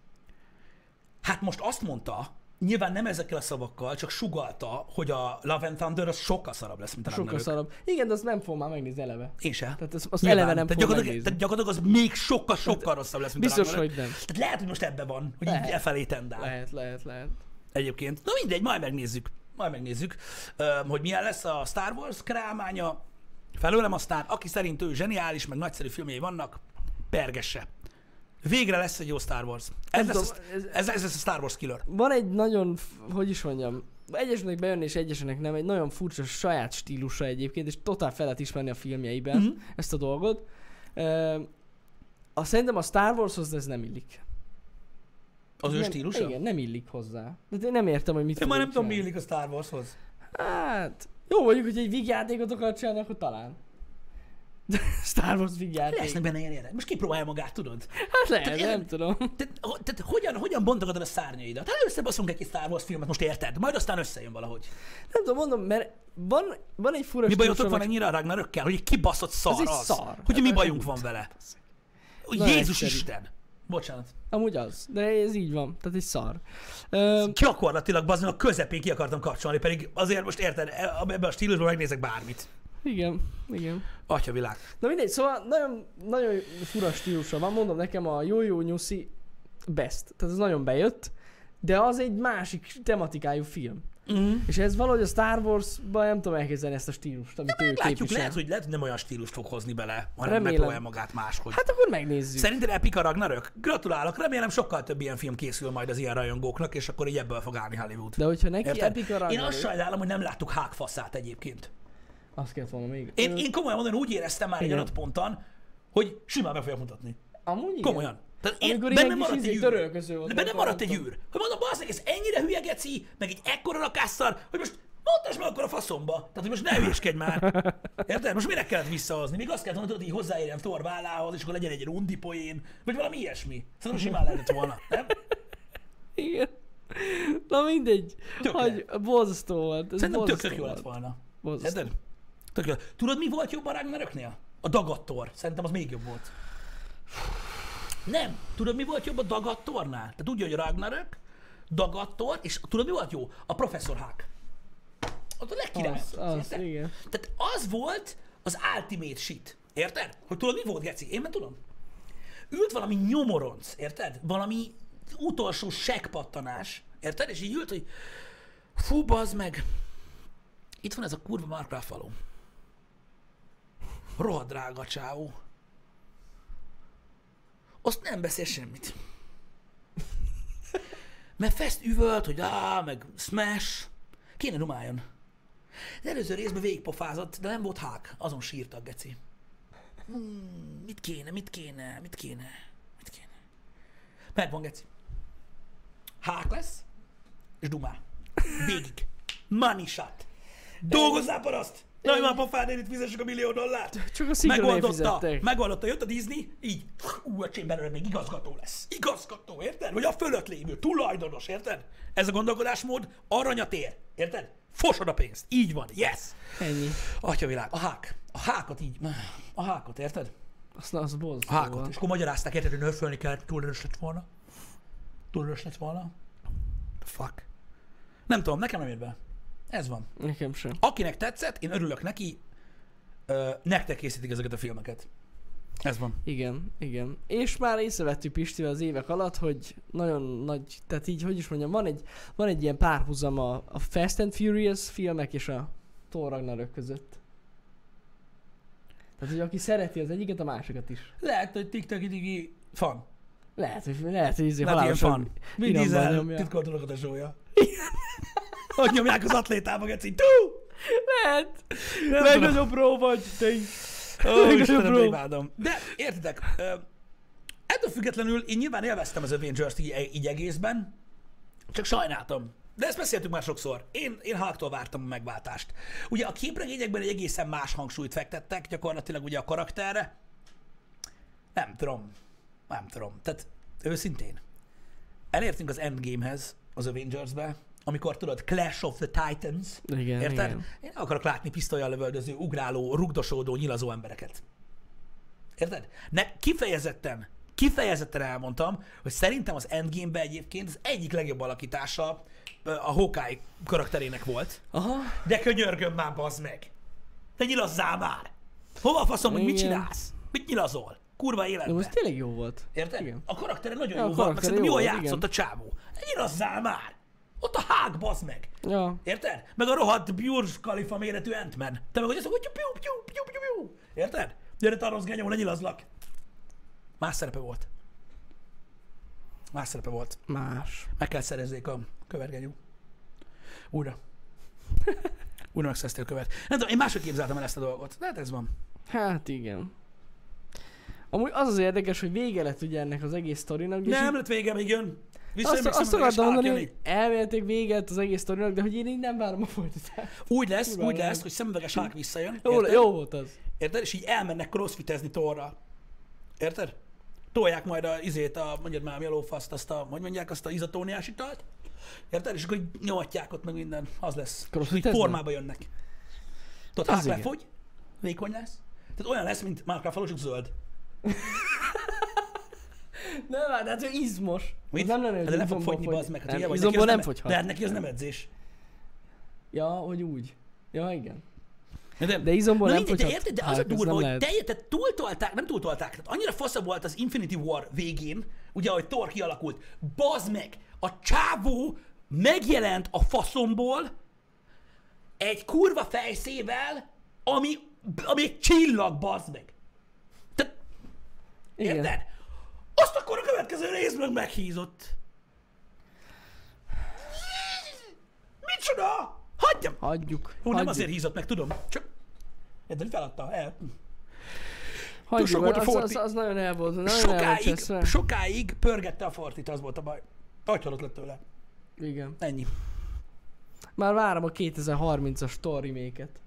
A: Hát most azt mondta, nyilván nem ezekkel a szavakkal, csak sugalta, hogy a Love and Thunder az sokkal szarabb lesz, mint a
B: Sokkal
A: Ragnarök.
B: szarabb. Igen, de azt nem fogom már megnézni eleve.
A: Én se.
B: Tehát azt, azt
A: Nyilván.
B: eleve nem
A: tehát,
B: fogom
A: gyakorlatilag,
B: megnézni. Hát
A: tehát gyakorlatilag az még sokkal, sokkal rosszabb lesz, mint
B: Biztos,
A: a Ragnarök.
B: hogy nem.
A: Tehát lehet, hogy most ebbe van, hogy
B: Lehet.
A: így e felé tendál.
B: Lehet, lehet, lehet.
A: egyébként. Na mindegy, majd megnézzük. Majd megnézzük, öm, hogy milyen lesz a Star Wars krámánya. Felőlem aztán, aki szerint ő zseniális, meg nagyszerű filmjei vannak, pergesse. Végre lesz egy jó Star Wars. Ez,
B: Nem
A: lesz,
B: tudom,
A: ez, ez, ez lesz a Star Wars killer.
B: van egy nagyon, f- hogy is mondjam, egyeseknek bejön és egyeseknek nem, egy nagyon furcsa saját stílusa egyébként, és totál fel lehet ismerni a filmjeiben
A: Mhm.
B: uh-huh. ezt a dolgot. Ö, a, szerintem a Star Warshoz ez nem illik.
A: Az ő
B: nem,
A: stílusa?
B: Igen, nem illik hozzá. De én nem értem, hogy mit
A: Én már nem
B: fogunk
A: tudom, mi
B: csinálni.
A: illik a Star Warshoz.
B: Hát, jó mondjuk, hogy egy vígjátékot akar csinálni, akkor talán. De Star Wars vígjáték.
A: Lesznek benne ilyen érdek. Most kipróbálja magát, tudod?
B: Hát lehet,
A: Tehát-
B: nem tudom.
A: Tehát, ho- tehát hogyan, hogyan bontogatod a szárnyaidat? Hát először baszunk egy kis Star Wars filmet, most érted? Majd aztán összejön valahogy.
B: Nem tudom, mondom, mert van, van egy fura
A: Mi
B: stílusa,
A: bajotok van
B: meg-
A: ennyire a Ragnarökkel, hogy egy kibaszott szar
B: Az
A: az?
B: egy szar.
A: Hogy mi
B: Hát,
A: bajunk
B: úgy
A: van vele?
B: Na,
A: Jézus
B: egyszerű.
A: Isten! Bocsánat.
B: Amúgy az, de ez így van, tehát egy szar. Ö,
A: Gyakorlatilag bazdmeg a közepén ki akartam kapcsolni, pedig azért most érted, e- ebben a stílusban megnézek bármit.
B: igen, igen.
A: Atya világ.
B: Na mindegy, szóval nagyon, nagyon fura stílusa van, mondom nekem a Jó-Jó Nyuszi best, tehát ez nagyon bejött, de az egy másik tematikájú film.
A: Mm.
B: És ez valahogy a Star Wars-ban nem tudom elképzelni ezt a stílust, amit ő
A: Látjuk,
B: képvisel.
A: lehet, hogy lehet, hogy nem olyan stílust fog hozni bele, hanem
B: Remélem.
A: megpróbálja magát máshogy.
B: Hát akkor megnézzük.
A: Szerinted epik a Ragnarök? Gratulálok, remélem sokkal több ilyen film készül majd az ilyen rajongóknak, és akkor így ebből fog állni Hollywood.
B: De hogyha neki
A: Érted?
B: epik
A: Én
B: a
A: azt
B: Ragnarök,
A: sajnálom, hogy nem láttuk Hulk faszát egyébként.
B: azt kellett volna még.
A: Én, én komolyan mondom, úgy éreztem már egy
B: Igen.
A: adott ponton, hogy simán be fogják mutatni.
B: Amúgy igen.
A: Komolyan. Tehát én,
B: Amikor
A: bennem
B: ilyen kis
A: maradt
B: izé,
A: egy űr.
B: törölköző volt,
A: De bennem
B: akkor
A: maradt egy
B: nem tudom.
A: űr. Hogy mondom, bazdmeg, ez ennyire hülye geci, meg egy ekkora rakásszar, hogy most Mondd meg akkor a faszomba. Tehát, hogy most ne hülyeskedj már. Érted? Most minek kellett visszahozni? Még azt kellett volna, tudod, hogy hozzáérjem Thor vállához, és akkor legyen egy rundi poén, vagy valami ilyesmi. Szerintem simán lehetett volna, nem?
B: Igen. Na mindegy.
A: Tök
B: Hogy borzasztó volt. Ez
A: Szerintem tök,
B: borzasztó
A: tök jó lett
B: volt.
A: volna.
B: Borzasztó.
A: Érted? Tök jó. Tudod, mi volt jobb a Ragnaröknél? A dagattor. Szerintem az még jobb volt. Nem. Tudod, mi volt jobb a dagattornál? Tehát tudja, hogy a Ragnarök, dagattor, és tudod, mi volt jó? A professzor Hák. Ott a legkirályabb.
B: Az, az,
A: érted?
B: igen.
A: Tehát az volt az ultimate shit. Érted? Hogy tudod, mi volt, Geci? Én már tudom. Ült valami nyomoronc, érted? Valami utolsó seggpattanás. Érted? És így ült, hogy fú, bazd meg, itt van ez a kurva Mark Ruffalo. Rohadt drága csávó. Azt nem beszél semmit. Mert Fest üvölt, hogy á, meg smash. Kéne dumáljon. Az előző részben végigpofázott, de nem volt hák. Azon sírta a geci. Hmm, mit kéne, mit kéne, mit kéne, mit kéne. Megvan, geci. Hák lesz, és dumál. Végig. Money shot. Dolgozzál paraszt! Nagy már pofád, én itt fizessük a millió dollárt.
B: Csak a szinkronért
A: Megoldotta,
B: fizettek.
A: megoldotta, jött a Disney, így, ú, a Chamberlain még igazgató lesz. Igazgató, érted? Vagy a fölött lévő, tulajdonos, érted? Ez a gondolkodásmód aranyat ér, érted? Fosod a pénzt, így van, yes!
B: Ennyi.
A: Atyavilág, a hák, a hákat így, a hákat, érted?
B: Azt na, az
A: A hákot.
B: borzasztó.
A: És akkor magyarázták, érted, hogy nörfölni kellett, túl erős lett volna. Túl erős lett volna. Fuck. Nem tudom, nekem nem ér be. Ez van.
B: Nekem sem.
A: Akinek tetszett, én örülök neki, ö, nektek készítik ezeket a filmeket. Ez van.
B: Igen, igen. És már észrevettük Pistivel az évek alatt, hogy nagyon nagy, tehát így, hogy is mondjam, van egy, van egy ilyen párhuzam a, a Fast and Furious filmek és a Thor Ragnarök között. Tehát, hogy aki szereti az egyiket, a másikat is.
A: Lehet, hogy tiktok idigi fan.
B: Lehet, hogy, lehet, hogy ezért
A: Lehet ilyen
B: halálosan
A: fan. Vin
B: iramba
A: Diesel
B: nyomja.
A: titkolt unokatesója. Hogy nyomják az atlétába, geci. Tú!
B: Lehet!
A: Nem
B: Legnagyobb pró vagy, te így.
A: Ó,
B: Legnagyobb
A: Istenem, de
B: pró.
A: imádom. De értitek, ö, ettől függetlenül én nyilván élveztem az Avengers-t így, így egészben, csak sajnáltam. De ezt beszéltük már sokszor. Én, én Hulktól vártam a megváltást. Ugye a képregényekben egy egészen más hangsúlyt fektettek, gyakorlatilag ugye a karakterre. Nem tudom. Nem tudom. Tehát őszintén. Elértünk az Endgamehez, az Avengers-be, amikor tudod, Clash of the Titans,
B: Igen,
A: Érted?
B: igen.
A: Én nem akarok látni pisztolyjal lövöldöző, ugráló, rugdosódó, nyilazó embereket. Érted? Ne, kifejezetten, kifejezetten elmondtam, hogy szerintem az Endgame-ben egyébként az egyik legjobb alakítása ö, a Hawkeye karakterének volt.
B: Aha.
A: De könyörgöm már, bazd meg! Te nyilazzál már! Hova a faszom, hogy mit
B: Igen.
A: csinálsz? Mit nyilazol? Kurva
B: De
A: életben.
B: most tényleg jó volt.
A: Érted?
B: Igen.
A: A karaktere nagyon
B: Ja, a
A: jó volt, meg
B: karaktere
A: szerintem
B: jó
A: jól
B: volt,
A: játszott
B: igen.
A: a csávó. Nyilazzál már! Ott a hák, bazd meg!
B: Ja.
A: Érted? Meg a rohadt Burj Khalifa méretű ant Te meg hogy azt mondod, hogy piu, piu, piu, piu, piu. Érted? Gyere, tarroz genyó, lenyilazlak. Más szerepe volt. Más szerepe volt.
B: Más.
A: Meg kell szerezzék a követgenyú. Újra. Újra megszereztél a követ. Nem tudom, én máshogy képzeltem el ezt a dolgot. De hát ez van.
B: Hát igen. Amúgy az az érdekes, hogy vége lett ugye ennek az egész sztorinak. és
A: Nem
B: így
A: lett vége, még jön.
B: azt,
A: Visszaemlékszem,
B: azt
A: amikor is
B: akartam mondani,
A: Hulk jön
B: hogy
A: így.
B: elméletileg vége lett az egész sztorinak, de hogy én így nem várom a folytatást.
A: Úgy lesz,
B: Kurva
A: úgy lesz,
B: anyád.
A: hogy szemüveges hák visszajön.
B: Jó,
A: érted?
B: jó volt az.
A: Érted? És így elmennek crossfitezni torra. Érted? Tolják majd a izét, a, mondjad már, mi a lófaszt, azt a, hogy mondják, azt a izotóniás italt. Érted? És akkor így nyomatják ott meg minden. Az lesz. Hogy
B: Crossfiteznek?
A: formába jönnek. Tudod,
B: Az
A: hát
B: igen.
A: lefogy, vékony lesz. Tehát olyan lesz, mint Mark Ruffalo, csak zöld.
B: Nem, hát hát ő izmos.
A: Mit?
B: Az Nem lenne,
A: Hát
B: hogy
A: de le fog
B: izomból
A: fogyni, bazd meg. Hát
B: nem,
A: ugye, vagy neki
B: izomból
A: az
B: nem
A: nem-
B: fogyhat.
A: De hát neki az nem edzés.
B: Ja, hogy úgy. Ja, igen.
A: Nem.
B: De izomból
A: Na
B: nem
A: mindegy, de
B: fogyhat.
A: érted, de az a
B: Hálak, ez
A: durva,
B: nem
A: hogy
B: lehet.
A: telje, tehát túltolták, nem túltolták, tehát annyira fasza volt az Infinity War végén, ugye ahogy Thor kialakult, bazd meg, a csávó megjelent a faszomból egy kurva fejszével, ami, ami egy csillag, bazd meg. Tehát,
B: Igen.
A: érted? Azt akkor a következő részben meghízott. Micsoda? Hagyjam!
B: Hagyjuk.
A: Ó, nem
B: hagyjuk,
A: azért hízott meg, tudom. Csak Eddig feladta el.
B: hagyjuk,
A: sok volt a
B: az,
A: Forti.
B: az, az, nagyon el volt. Nagyon el volt
A: Sokáig,
B: cseszve.
A: sokáig pörgette a fortit, az volt a baj. Agyhalott lett tőle.
B: Igen.
A: Ennyi.
B: Már várom a 2030-as Thor reméket.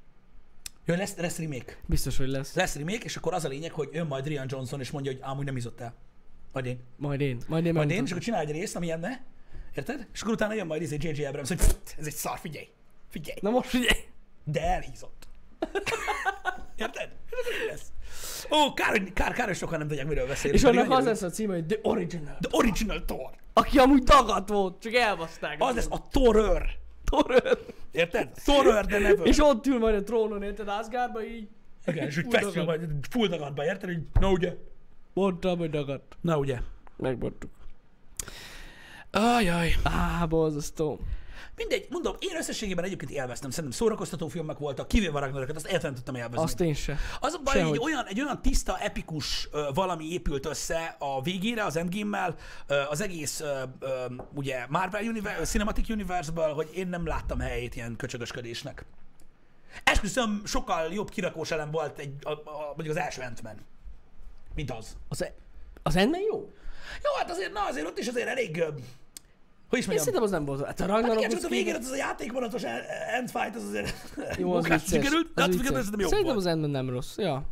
A: Jön, lesz, lesz remake.
B: Biztos, hogy lesz.
A: Lesz remake, és akkor az a lényeg, hogy ön majd Rian Johnson és mondja, hogy amúgy nem izott el. Majd én.
B: Majd én. Majd én
A: Majd én,
B: megmutatom.
A: és akkor csinál egy részt, ami enne. Érted? És akkor utána jön majd izé J.J. Abrams, hogy "Pff, ez egy szar, figyelj. Figyelj.
B: Na most figyelj!
A: De elhízott. Érted? És akkor így lesz. Ó, kár, hogy, kár, kár, hogy sokan nem tudják, miről beszélünk.
B: És
A: pedig
B: annak az
A: annyira-
B: lesz a címe, hogy The Original.
A: The Original Thor.
B: Aki amúgy dagadt volt, csak elbaszták.
A: Az lesz a Thorör.
B: Torör.
A: Érted? Thorör, de never.
B: És ott ül majd a trónon, érted, Asgardba így.
A: Igen, és úgy
B: Full
A: feszül
B: dagad.
A: majd, full dagadba, érted? Hogy na ugye?
B: Mondtam, hogy dagadt.
A: Na ugye?
B: Megmondtuk.
A: Ajaj.
B: Á, borzasztó.
A: Mindegy, mondom, én összességében egyébként élveztem. Szerintem szórakoztató filmek voltak, kivéve a Ragnaröket, azt egyáltalán nem tudtam élvezni.
B: Azt én se.
A: Az a baj, hogy
B: Sehogy.
A: egy olyan, egy olyan tiszta, epikus ö, valami épült össze a végére, az Endgame-mel, ö, az egész ö, ö, ugye Marvel Universe, Cinematic Universe-ből, hogy én nem láttam helyét ilyen köcsögösködésnek. Esküszöm, sokkal jobb kirakós elem volt egy, a, a, mondjuk az első ant mint az.
B: Az, e- az Endman jó?
A: Jó, hát azért, na azért ott is azért elég, ö, hogy is
B: Én
A: mondjam,
B: szerintem az nem borzasztó. Hát a
A: Hát
B: Ragnarok
A: igen, csak
B: az
A: a végén az a játékvonatos e- end fight, az azért
B: jó, az
A: munkát
B: vicces.
A: sikerült, de
B: az
A: hát
B: vicces.
A: függetlenül szerintem jó
B: Szerintem
A: volt.
B: az Endman nem rossz. Ja,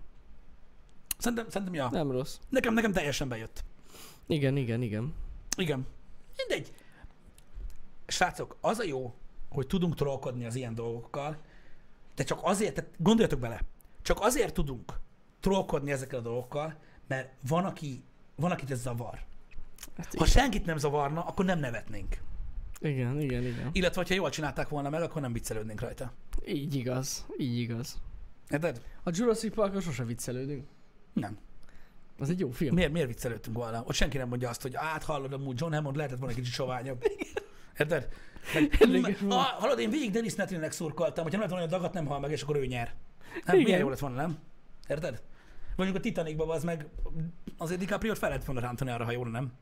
A: Szerintem, szerintem ja.
B: nem rossz.
A: Nekem, nekem teljesen bejött.
B: Igen, igen, igen.
A: Igen. Mindegy. Srácok, az a jó, hogy tudunk trollkodni az ilyen dolgokkal, de csak azért, tehát gondoljatok bele, csak azért tudunk trollkodni ezekkel a dolgokkal, mert van, aki, van akit ez zavar.
B: Hát
A: Ha senkit nem zavarna, akkor nem nevetnénk.
B: igen, igen, igen.
A: Illetve, ha jól csinálták volna meg, akkor nem viccelődnénk rajta.
B: Így igaz, így igaz.
A: Érted?
B: A Jurassic Parkon sose viccelődünk.
A: Nem.
B: Az egy jó film.
A: Miért, miért viccelődtünk volna? Ott senki nem mondja azt, hogy hát hallod, amúgy John Hammond lehetett volna egy kicsit soványabb. Érted? Meg- Ah,
B: Érdekes volt.
A: Hallod, én végig Dennis Nedrynek szurkoltam, hogyha nem lett volna olyan dagat, nem hal meg, és akkor ő nyer. Hát milyen
B: Igen.
A: jó lett volna, nem? Érted? Mondjuk a Titanicban az meg azért DiCaprio-t fel lehet volna rántani arra, ha jól nem?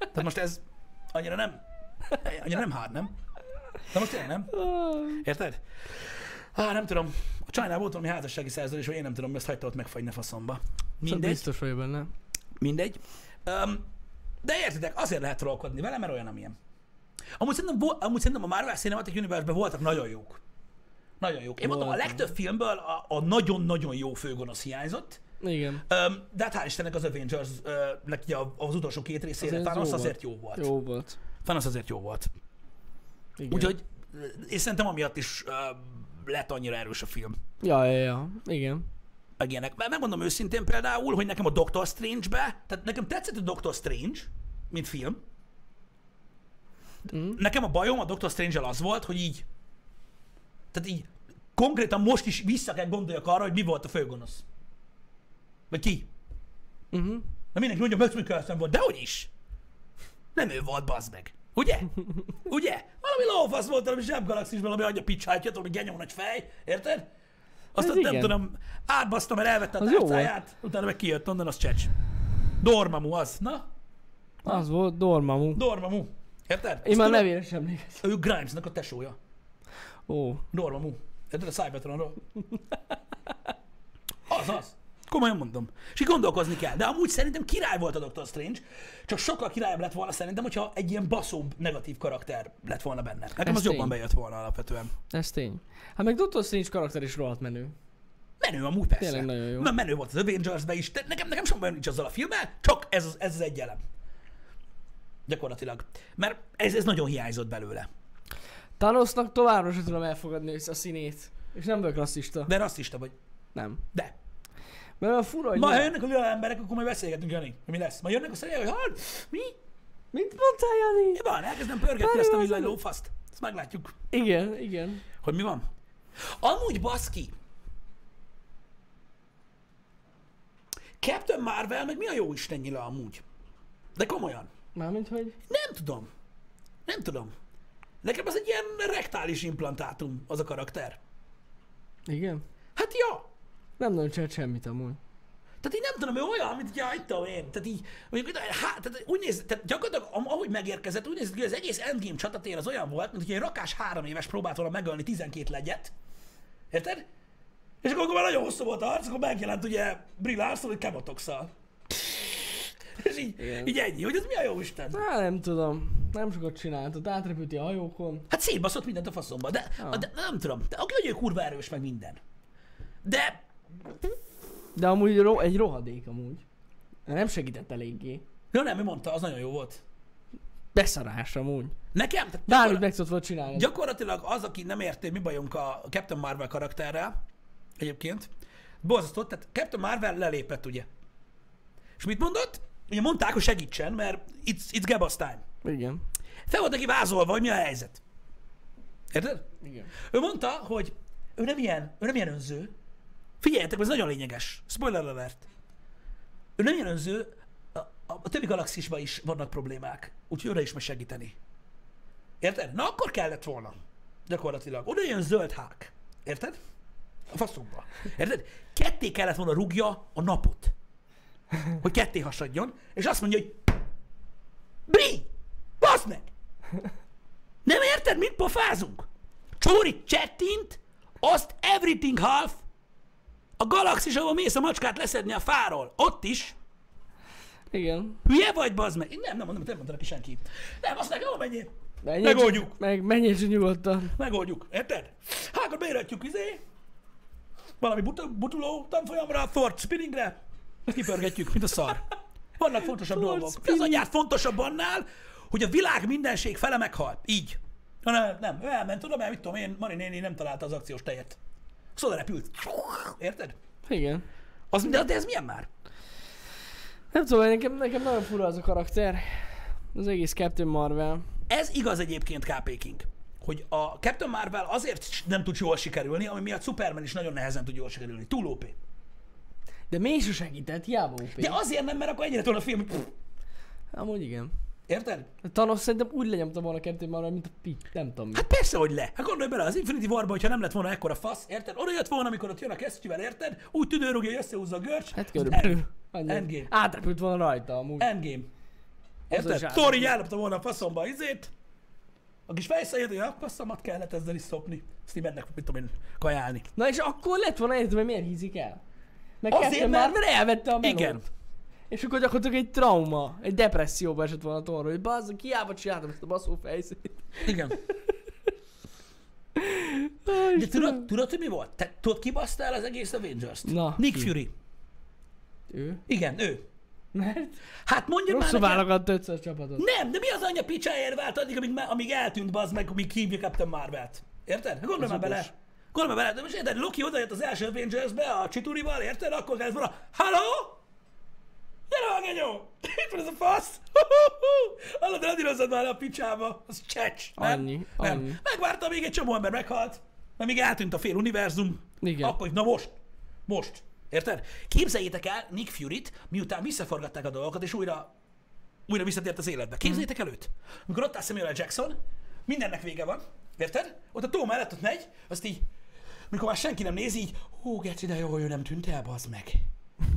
A: Tehát most ez annyira nem, annyira nem hár, nem? De most tényleg nem?
B: Ah,
A: Érted? Á, nem tudom. A csajnál volt valami házassági szerződés, vagy én nem tudom, ezt hagyta ott megfagyni a faszomba.
B: szóval
A: Mindegy.
B: Biztos vagyok benne.
A: Mindegy. Um, de értitek, azért lehet trollkodni vele, mert olyan, amilyen. Amúgy szerintem, vo- amúgy szerintem a Marvel Cinematic Universe-ben voltak nagyon jók. Nagyon jók. Én mondom, a
B: Voltak.
A: legtöbb filmből a, a nagyon-nagyon jó főgonosz hiányzott,
B: Igen.
A: um, de hát hál' Istennek az avengers uh, neki a- az utolsó két részére
B: Azért ez
A: Thanos
B: jó volt.
A: azért jó volt. Jó.
B: Jó volt.
A: Thanos azért jó volt.
B: Igen.
A: Úgyhogy ö, és szerintem amiatt is uh, lett annyira erős a film.
B: Ja, ja, ja. Igen.
A: meg ilyenek. Mert megmondom őszintén például, hogy nekem a Doctor Strange-be, tehát nekem tetszett a Doctor Strange, mint film. Mm. Nekem a bajom a Doctor strange az volt, hogy így, tehát így konkrétan most is vissza kell gondoljak arra, hogy mi volt a főgonosz. Vagy ki?
B: Uh-huh.
A: Na mindenki mondja, Max Mikkelsen volt, dehogy is. Nem ő volt, bazd meg. Ugye? Ugye? Valami lófasz volt, valami zsebgalaxis, valami adja picsátját, valami genyó nagy fej, érted? Azt
B: Ez
A: ott nem
B: igen.
A: tudom, átbasztam, mert elvette a
B: Az jó
A: tárcáját, utána meg kijött onnan, az csecs. Dormamú az, na?
B: Az volt Dormammu.
A: Dormamú. Érted?
B: Én már
A: Azt
B: nevére sem emlékszem.
A: tudom, Ő Grimesnak a tesója.
B: Ó,
A: Dormamú. Érted a Cybertronról? Az, az. Komolyan mondom. És így gondolkozni kell. De amúgy szerintem király volt a Doctor Strange, csak sokkal királyabb lett volna szerintem, hogyha egy ilyen baszóbb negatív karakter lett volna benne. Nekem
B: Ez
A: az jobban
B: tény.
A: bejött volna alapvetően.
B: ez tény. Hát meg Dr. Strange karakter is rohadt menő.
A: Menő amúgy persze.
B: Tényleg nagyon jó.
A: Mert menő volt az avengers is, de nekem, nekem semmi bajom nincs azzal a filmmel, csak ez az, ez az egy elem. Gyakorlatilag. Mert ez, ez nagyon hiányzott belőle.
B: Thanosnak továbbra sem tudom elfogadni a színét. És nem vagyok rasszista.
A: De rasszista vagy.
B: Nem.
A: De.
B: Mert a fura, hogy
A: Ma ha
B: nem-
A: jönnek a világ emberek, akkor majd beszélgetünk, Jani, hogy mi lesz. Ma jönnek a szerint, hogy hát, mi?
B: Mit mondtál, Jani?
A: Mi van? Elkezdem pörgetni
B: Várj,
A: ezt a
B: várj,
A: villany
B: várj.
A: lófaszt. Ezt meglátjuk,
B: Igen, igen.
A: hogy mi van. Amúgy baszki. Captain Marvel, meg mi a jó Isten nyila amúgy? De komolyan.
B: Mármint, hogy...
A: Nem tudom. Nem tudom. Nekem az egy ilyen rektális implantátum, az a karakter.
B: Igen.
A: Hát ja,
B: Nem nagyon csinált semmit amúgy.
A: Tehát így nem tudom, ő olyan, mint ja, itt tudom én. Tehát így, mondjuk, hogy há, tehát úgy néz, tehát gyakorlatilag am- ahogy megérkezett, úgy nézett ki, hogy az egész Endgame csatatér az olyan volt, mint hogy egy rakás három éves próbált volna megölni 12 legyet. Érted? És akkor, akkor már nagyon hosszú volt a harc, akkor megjelent ugye Brie Larson, hogy kemotoxal. És így,
B: Igen.
A: így ennyi, hogy ez mi a jó Isten?
B: Á, nem tudom. Nem sokat csinált. Ott átrepülti a hajókon.
A: Hát szétbaszott mindent a faszomba, de,
B: Ah.
A: de nem tudom. De aki, hogy ő kurva erős meg minden. De
B: De amúgy ro- egy rohadék amúgy. Nem segített eléggé.
A: Ja nem, ő mondta, az nagyon jó volt.
B: Beszarás amúgy.
A: Nekem? tehát
B: Bármit meg tudott volna csinálni.
A: Gyakorlatilag az, aki nem érti, hogy mi bajunk a Captain Marvel karakterrel, egyébként, borzasztó, tehát Captain Marvel lelépett, ugye. És mit mondott? Ugye mondták, hogy segítsen, mert it's, it's Gabba's time.
B: Igen.
A: Fel volt neki vázolva, hogy mi a helyzet. Érted?
B: Igen.
A: Ő mondta, hogy ő nem ilyen, ő nem ilyen önző. Figyeljetek, ez nagyon lényeges. Spoiler alert. Ő nem ilyen önző, a, a, a többi galaxisban is vannak problémák, úgyhogy oda is meg segíteni. Érted? Na akkor kellett volna. Gyakorlatilag. Oda jön zöld hák. Érted? A faszomba. Érted? Ketté kellett volna rúgja a napot. Hogy ketté hasadjon, és azt mondja, hogy Bri! Baszd meg! Nem érted, mit pofázunk? Csóri csettint, azt everything half, a galaxis, ahol mész a macskát leszedni a fáról, ott is,
B: Igen.
A: hülye vagy, bazd meg? Én nem, nem mondom, nem mondta neki senki. Nem, azt nekem, menjél,
B: Menjél,
A: Megoldjuk.
B: csak- Meg, menjél csak nyugodtan.
A: megoldjuk, érted? Hát akkor beíratjuk, izé, valami butu, butuló tanfolyamra, Ford Spinningre, kipörgetjük, mint a szar. Vannak fontosabb
B: Ford
A: dolgok. Ez
B: Spinning.
A: anyád fontosabb annál, hogy a világ mindenség fele meghalt. Így. Na, nem, nem, ő elment, tudom, mert mit tudom én, Mari néni nem találta az akciós tejet. Szóval repült. Érted?
B: Igen.
A: Az, de, de ez milyen már?
B: Nem tudom, nekem, nekem nagyon fura az a karakter. Az egész Captain Marvel.
A: Ez igaz egyébként KP King, hogy a Captain Marvel azért s- nem tud jól sikerülni, ami miatt Superman is nagyon nehezen tud jól sikerülni. Túl OP.
B: De mégis segített, hiába OP.
A: De azért nem, mert akkor ennyire tolna a film, hogy pff,
B: Amúgy igen.
A: érted?
B: A Thanos szerintem úgy lenyomta volna a Captain Marvel, mint a pi. Nem tudom mi.
A: Hát persze, hogy le. Hát gondolj bele, az Infinity Warba, hogyha nem lett volna ekkora fasz, érted? Oda jött volna, amikor ott jön a kesztyűvel, érted? Úgy tüdőrúgja, hogy összehúzza a görcs.
B: Hát körülbelül.
A: End.
B: Annyi.
A: Endgame.
B: Átrepült volna rajta amúgy.
A: Endgame.
B: Az a
A: Érted?
B: zsákmány.
A: Thor így ellopta volna a faszomba a izét. A kis fejszájét, hogy a passzamat kellett ezzel is szopni. Ezt így mennek, mit tudom én, kajálni.
B: Na és akkor lett volna értem, hogy miért hízik el. Meg
A: Azért,
B: Captain
A: mert-
B: Marvel elvette a melót.
A: Igen.
B: És akkor gyakorlatilag egy trauma, egy depresszióba esett volna a Thorra, hogy bazd, kiába csináltam ezt a baszó fejszét.
A: Igen. De tudod, tudod, hogy mi volt? Te tudod, ki baszta el az egész avengers -t?
B: Na,
A: Nick
B: ki?
A: Fury.
B: Ő?
A: Igen, ő.
B: Mert
A: Hát mondja már
B: rosszul
A: nekem.
B: válogatta ötször a csapatot.
A: Nem, de mi az anya picsáért vált addig, amíg, má- amíg eltűnt bazd meg, amíg hívja Captain Marvel-t. Érted? Hát Gondolj már
B: okos.
A: bele. Gondolj már bele. De most érted, Loki odajött az első Avengers-be a Csiturival, érted? Akkor kellett volna, Halló? Gyere a genyó! Itt van ez a fasz! Hallod, radírozzad már le a picsába! Az csecs! Nem?
B: Annyi,
A: nem.
B: annyi.
A: Megvártam, még egy csomó ember meghalt, mert még eltűnt a fél univerzum.
B: Igen.
A: Akkor, na most, most. Érted? Képzeljétek el Nick Furyt, miután visszaforgatták a dolgokat, és újra, újra visszatért az életbe. Képzeljétek el őt. Amikor ott áll Samuel L. Jackson, mindennek vége van, érted? Ott a tó mellett ott megy, azt így, mikor már senki nem nézi, így, hú, geci, de jó, hogy ő nem tűnt el, bazd meg.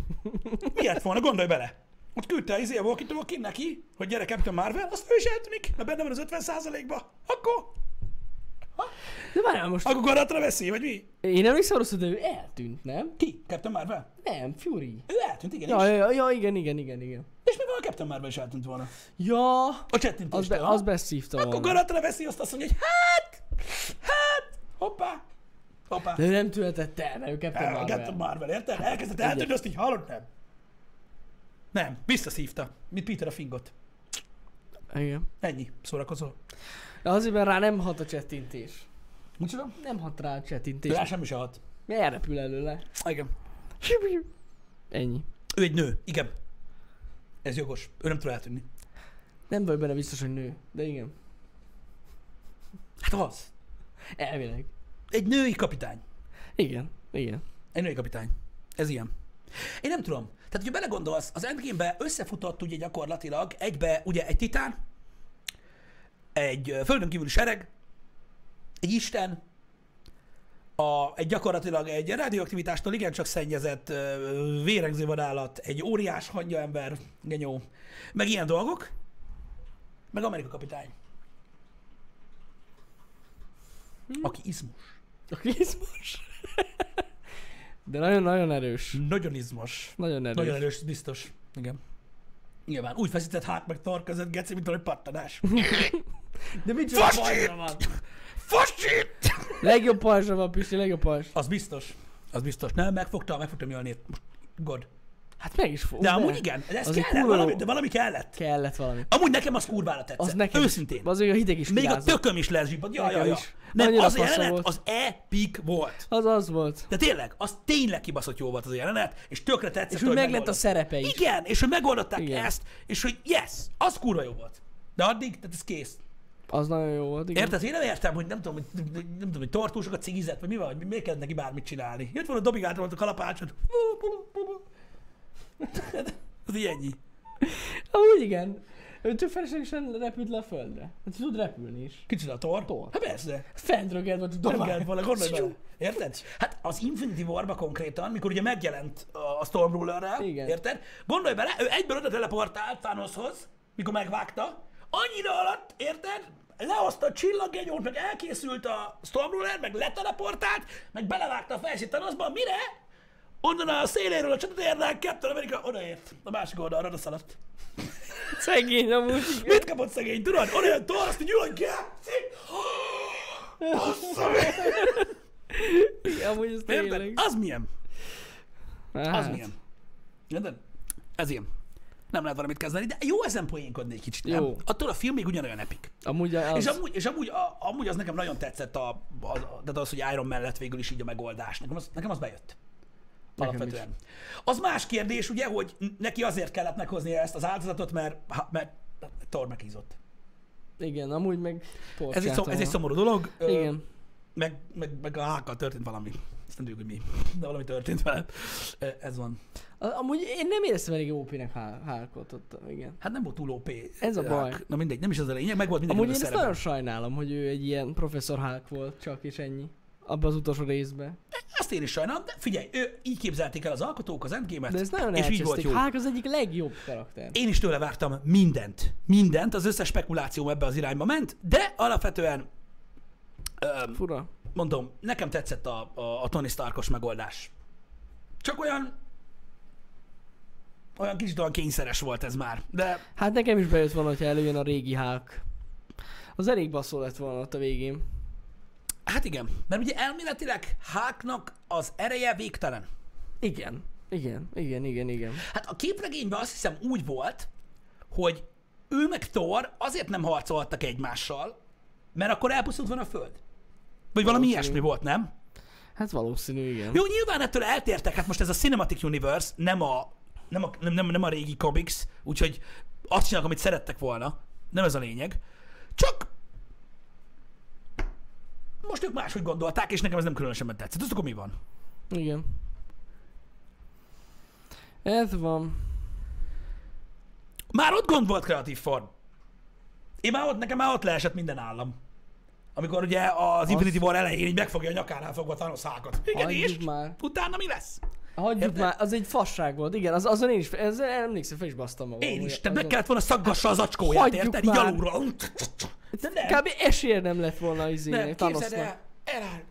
A: Mi lett volna, gondolj bele. Ott küldte izé a walkie talkie neki, hogy gyere Captain Marvel, azt ő is eltűnik, mert benne van az 50 ba Akkor,
B: De várjál most,
A: akkor garatra veszi, vagy mi?
B: én emlékszem rosszul, de ő eltűnt, nem?
A: Ki? Captain Marvel?
B: Nem, Fury.
A: Ő eltűnt, igen.
B: Ja,
A: és-
B: ja, ja, ja, igen, igen, igen, igen.
A: És mi van, a Captain Marvel is eltűnt volna?
B: Ja,
A: A
B: az,
A: csettintéstől.
B: be, az beszívta
A: Akkor
B: volna.
A: garatra veszi, azt azt mondja, hogy hát, hát, hoppá, hoppá.
B: De ő nem tűnhetett el, mert ő Captain
A: El- Captain
B: Marvel.
A: Marvel, érted? Elkezdett eltűnni, azt így hallod, nem. Nem, visszaszívta, mint Peter a fingot.
B: Igen.
A: Ennyi, szórakozó.
B: De azért, mert rá nem hat a csettintés.
A: Micsoda?
B: Nem hat rá a csettintés.
A: Rá semmi se hat.
B: Mert elrepül előle.
A: Ah, Igen.
B: Ennyi.
A: Ő egy nő, igen. Ez jogos. Ő nem tud eltűnni.
B: Nem vagy benne biztos, hogy nő, de igen.
A: Hát az.
B: Elvileg.
A: Egy női kapitány.
B: Igen, igen.
A: Egy női kapitány. Ez ilyen. Én nem tudom. Tehát, hogyha belegondolsz, az endgame összefutott ugye gyakorlatilag egybe ugye egy titán, egy ö, földön kívüli sereg, egy isten, a, egy gyakorlatilag egy radioaktivitástól igencsak szennyezett ö, vérengző vadállat, egy óriás hangyaember, genyó, meg ilyen dolgok, meg Amerika kapitány. Aki izmos.
B: A izmos. De nagyon-nagyon erős.
A: Nagyon izmos.
B: Nagyon erős.
A: Nagyon erős, biztos. Igen. Nyilván úgy feszített hát meg tar között, geci, mint valami pattanás.
B: De mit
A: Fasz
B: pajzsa van?
A: Fasit!
B: Legjobb pajzsa van, Pisti, legjobb pajzs.
A: Az biztos. Az biztos. Nem, megfogta, megfogta Mjölnét. Most God.
B: Hát meg is fog.
A: De amúgy igen, de ez
B: Az egy
A: kellett,
B: kurva jó.
A: valami, de valami kellett.
B: Kellett valami.
A: Amúgy nekem az kurvára tetszett.
B: Az nekem
A: Őszintén.
B: Is, az a hideg is
A: Még a
B: kirázott.
A: tököm is lezsibbad. Ja, ja,
B: Nekem
A: ja.
B: is.
A: Nem,
B: Annyira
A: az
B: fasza
A: jelenet,
B: volt.
A: az epic volt.
B: Az az volt.
A: De tényleg, az tényleg kibaszott jó volt az a jelenet, és tökre tetszett,
B: És hogy meglett a
A: megoldották.
B: szerepe is.
A: Igen, és hogy megoldották
B: Igen.
A: ezt, és hogy yes, az kurva jó volt. De addig, tehát ez kész.
B: Az nagyon jó volt, igen.
A: Érted? Én nem értem, hogy nem tudom, hogy, nem tudom, hogy tartósokat cigizett, vagy mi van, hogy miért kellett neki bármit csinálni. Jött volna dobigált volt a kalapácsot. Ez így ennyi.
B: Amúgy igen. Ő csak feleslegesen repült le a földre. Hát tud repülni is.
A: Kicsit a tor.
B: Tor.
A: Hát persze.
B: Fendröged vagy
A: Nem
B: dobál.
A: kellett volna, gondolj
B: Sziú.
A: bele. Érted? Hát az Infinity Warba konkrétan, mikor ugye megjelent a Storm Rulerrel,
B: Igen.
A: érted? Gondolj bele, ő egyből oda teleportált Thanoshoz, mikor megvágta, annyira alatt, érted? Lehozta a csillaggegyót, meg elkészült a Storm Ruler, meg leteleportált, meg belevágta a fejszét Thanosba, mire? Onnan a széléről a csatatérnek, Captain America odaért, a másik oldalra odaszaladt.
B: Szegény amúgy. igen.
A: Mit kapott szegény, tudod? Olyan tol, azt mondja, hogy geci! Bassza meg!
B: Amúgy ez
A: Érted?
B: tényleg.
A: Az milyen? Az
B: Hát,
A: milyen. Érted? Ez ilyen. Nem lehet valamit kezdeni, de jó ezen poénkodni egy kicsit, nem?
B: Jó.
A: Attól a film még ugyanolyan epik.
B: Amúgy az.
A: És amúgy, és amúgy, a, amúgy az nekem nagyon tetszett, a, a, tehát az, hogy Iron mellett végül is így a megoldás. Nekem az, nekem az bejött.
B: Nekem
A: Alapvetően. Az más kérdés, ugye, hogy n- neki azért kellett meghozni ezt az áldozatot, mert, ha- mert Thor meghízott.
B: Igen, amúgy meg
A: Ez egy, szom, ez egy
B: szomorú.
A: szomorú dolog. Ö,
B: Igen.
A: Meg, meg, meg a hákkal történt valami. Ezt nem tudjuk, hogy mi. De valami történt vele. Ö, Ez van.
B: A- Amúgy én nem éreztem elég OP-nek há- hálkot ott, igen.
A: Hát nem volt túl OP.
B: Ez a
A: Hák.
B: baj.
A: Na mindegy, nem is az a lényeg, meg volt mindenki
B: Amúgy én
A: a
B: ezt
A: szerepe.
B: nagyon sajnálom, hogy ő egy ilyen professzor Hulk volt, csak és ennyi. Abban az utolsó részben.
A: Ezt én is sajnálom, de figyelj, ő így képzelték el az alkotók az endgame
B: De ez nagyon
A: és így volt
B: elcseszték.
A: jó.
B: Hulk az egyik legjobb karakter.
A: Én is tőle vártam mindent. Mindent, az összes spekulációm ebbe az irányba ment, de alapvetően öm,
B: Fura.
A: mondom, nekem tetszett a, a, a Tony Starkos megoldás. Csak olyan olyan kicsit olyan kényszeres volt ez már, de
B: Hát nekem is bejött volna, hogyha előjön a régi Hulk. Az elég baszó lett volna ott a végén.
A: hát igen, mert ugye elméletileg Háknak az ereje végtelen.
B: Igen. Igen, igen, igen, igen.
A: Hát a képregényben azt hiszem úgy volt, hogy ő meg Thor azért nem harcolhattak egymással, mert akkor elpusztult van a Föld. Vagy valami
B: Valószínű.
A: ilyesmi volt, nem?
B: Hát valószínű, igen.
A: Jó, nyilván ettől eltértek, hát most ez a Cinematic Universe, nem a, nem a, nem, nem, nem a régi comics, úgyhogy azt csinálnak, amit szerettek volna. Nem ez a lényeg. Csak most ők máshogy gondolták, és nekem ez nem különösen tetszett. Tudod, akkor mi van?
B: Igen. Ez van.
A: Már ott gond volt kreatív form. Én már ott, nekem már ott leesett minden állam. Amikor ugye az Infinity War elején így megfogja a nyakánál fogva Thanos hákat. Igen,
B: Hagyjuk
A: és
B: már.
A: utána mi lesz?
B: Hagyjuk
A: Érted?
B: már, az egy fasság volt, igen, az, azon én is, ezzel emlékszem, fel is basztam magam.
A: Én
B: amúgy
A: is. Tehát meg
B: azon.
A: kellett volna szaggassa az acskóját,
B: Hagyjuk
A: érted? Így
B: már.
A: alulról. De nem,
B: Kb. esélye nem lett volna az
A: nem,
B: izének,
A: képzeld
B: Thanosnak.
A: el. eláll.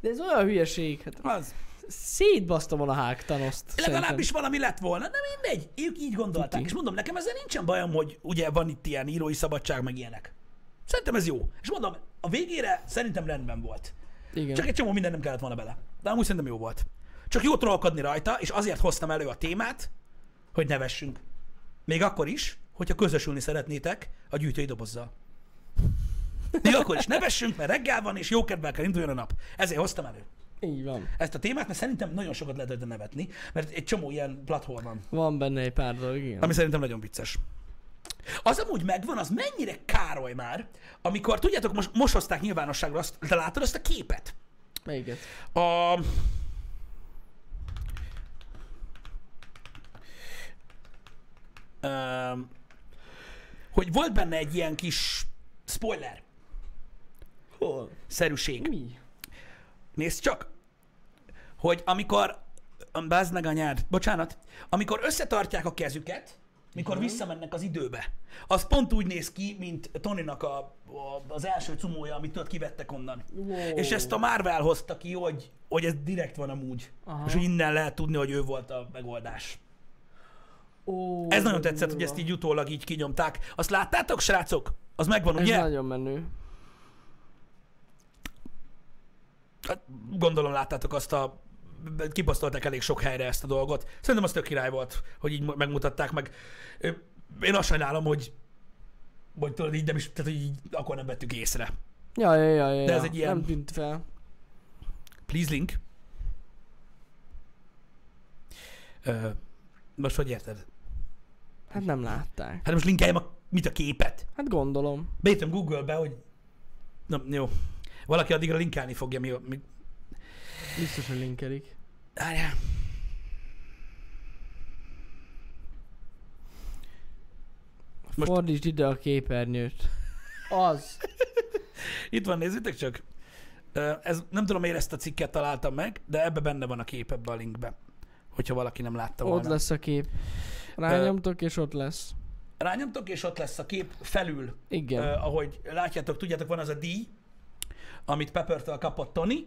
B: De ez olyan hülyeség, hát
A: Az.
B: szétbaszta volna Hulk Thanoszt.
A: Legalábbis valami lett volna, de mindegy. Ők így gondolták.
B: Tuti.
A: És mondom, nekem ezzel nincsen bajom, hogy ugye van itt ilyen írói szabadság, meg ilyenek. Szerintem ez jó. És mondom, a végére szerintem rendben volt.
B: szerintem. Igen.
A: Csak egy csomó minden nem kellett volna bele. De amúgy szerintem jó volt. Csak jó trollkodni rajta, és azért hoztam elő a témát, hogy nevessünk. Még akkor is, hogyha közösülni szeretnétek a gyűjtői dobozzal. Még akkor is nevessünk, mert reggel van, és jó kedvel kell induljon a nap. Ezért hoztam elő
B: Így van.
A: ezt a témát, mert szerintem nagyon sokat lehet rajta nevetni, mert egy csomó ilyen platform van,
B: Van benne egy pár dolog, igen.
A: ami szerintem nagyon vicces. Az amúgy megvan, az mennyire károly már, amikor, tudjátok, most, most hozták nyilvánosságra azt, de látod azt a képet?
B: Melyiket?
A: A... Um, hogy volt benne egy ilyen kis spoiler
B: Hol?
A: szerűség.
B: Mi?
A: Nézd csak, hogy amikor, um, bázd meg anyád, bocsánat, amikor összetartják a kezüket, mikor
B: Mhm.
A: visszamennek az időbe, az pont úgy néz ki, mint Tonynak a, a, az első cumója, amit ott kivettek onnan.
B: Wow.
A: És ezt a Marvel hozta ki, hogy, hogy ez direkt van amúgy. Aha.
B: Aha.
A: És hogy innen lehet tudni, hogy ő volt a megoldás.
B: Ó,
A: Ez nagyon
B: de
A: tetszett, hogy
B: durva.
A: ezt így utólag így kinyomták. Azt láttátok, srácok? Az megvan,
B: Ez
A: ugye?
B: nagyon menő.
A: Hát, Gondolom láttátok azt a kipasztolták elég sok helyre ezt a dolgot. Szerintem az tök király volt, hogy így megmutatták meg. Ö, Én azt sajnálom, hogy hogy tudod, így nem is, tehát hogy így akkor nem vettük észre.
B: Ja, ja, ja, ja,
A: De ez
B: ja.
A: egy ilyen-
B: Nem tűnt fel.
A: Please link. Ö, most hogy érted?
B: Hát nem látták.
A: Hát most linkeljem a, mit a képet?
B: Hát gondolom.
A: Beírtam Google-be, hogy... Na, jó. Valaki addigra linkelni fogja, mi... mi...
B: Biztos, hogy linkelik.
A: Várjál. Most-
B: Most... Fordítsd ide a képernyőt. Az.
A: Itt van, nézzétek csak. Ö, Ez, nem tudom, miért ezt a cikket találtam meg, de ebbe benne van a kép ebbe a linkbe, hogyha valaki nem látta
B: Ott
A: volna.
B: lesz a kép. Rányomtok, és ott lesz.
A: Rányomtok, és ott lesz a kép felül,
B: Igen.
A: ö, ahogy látjátok, tudjátok, van az a díj, amit Peppertől kapott Tony,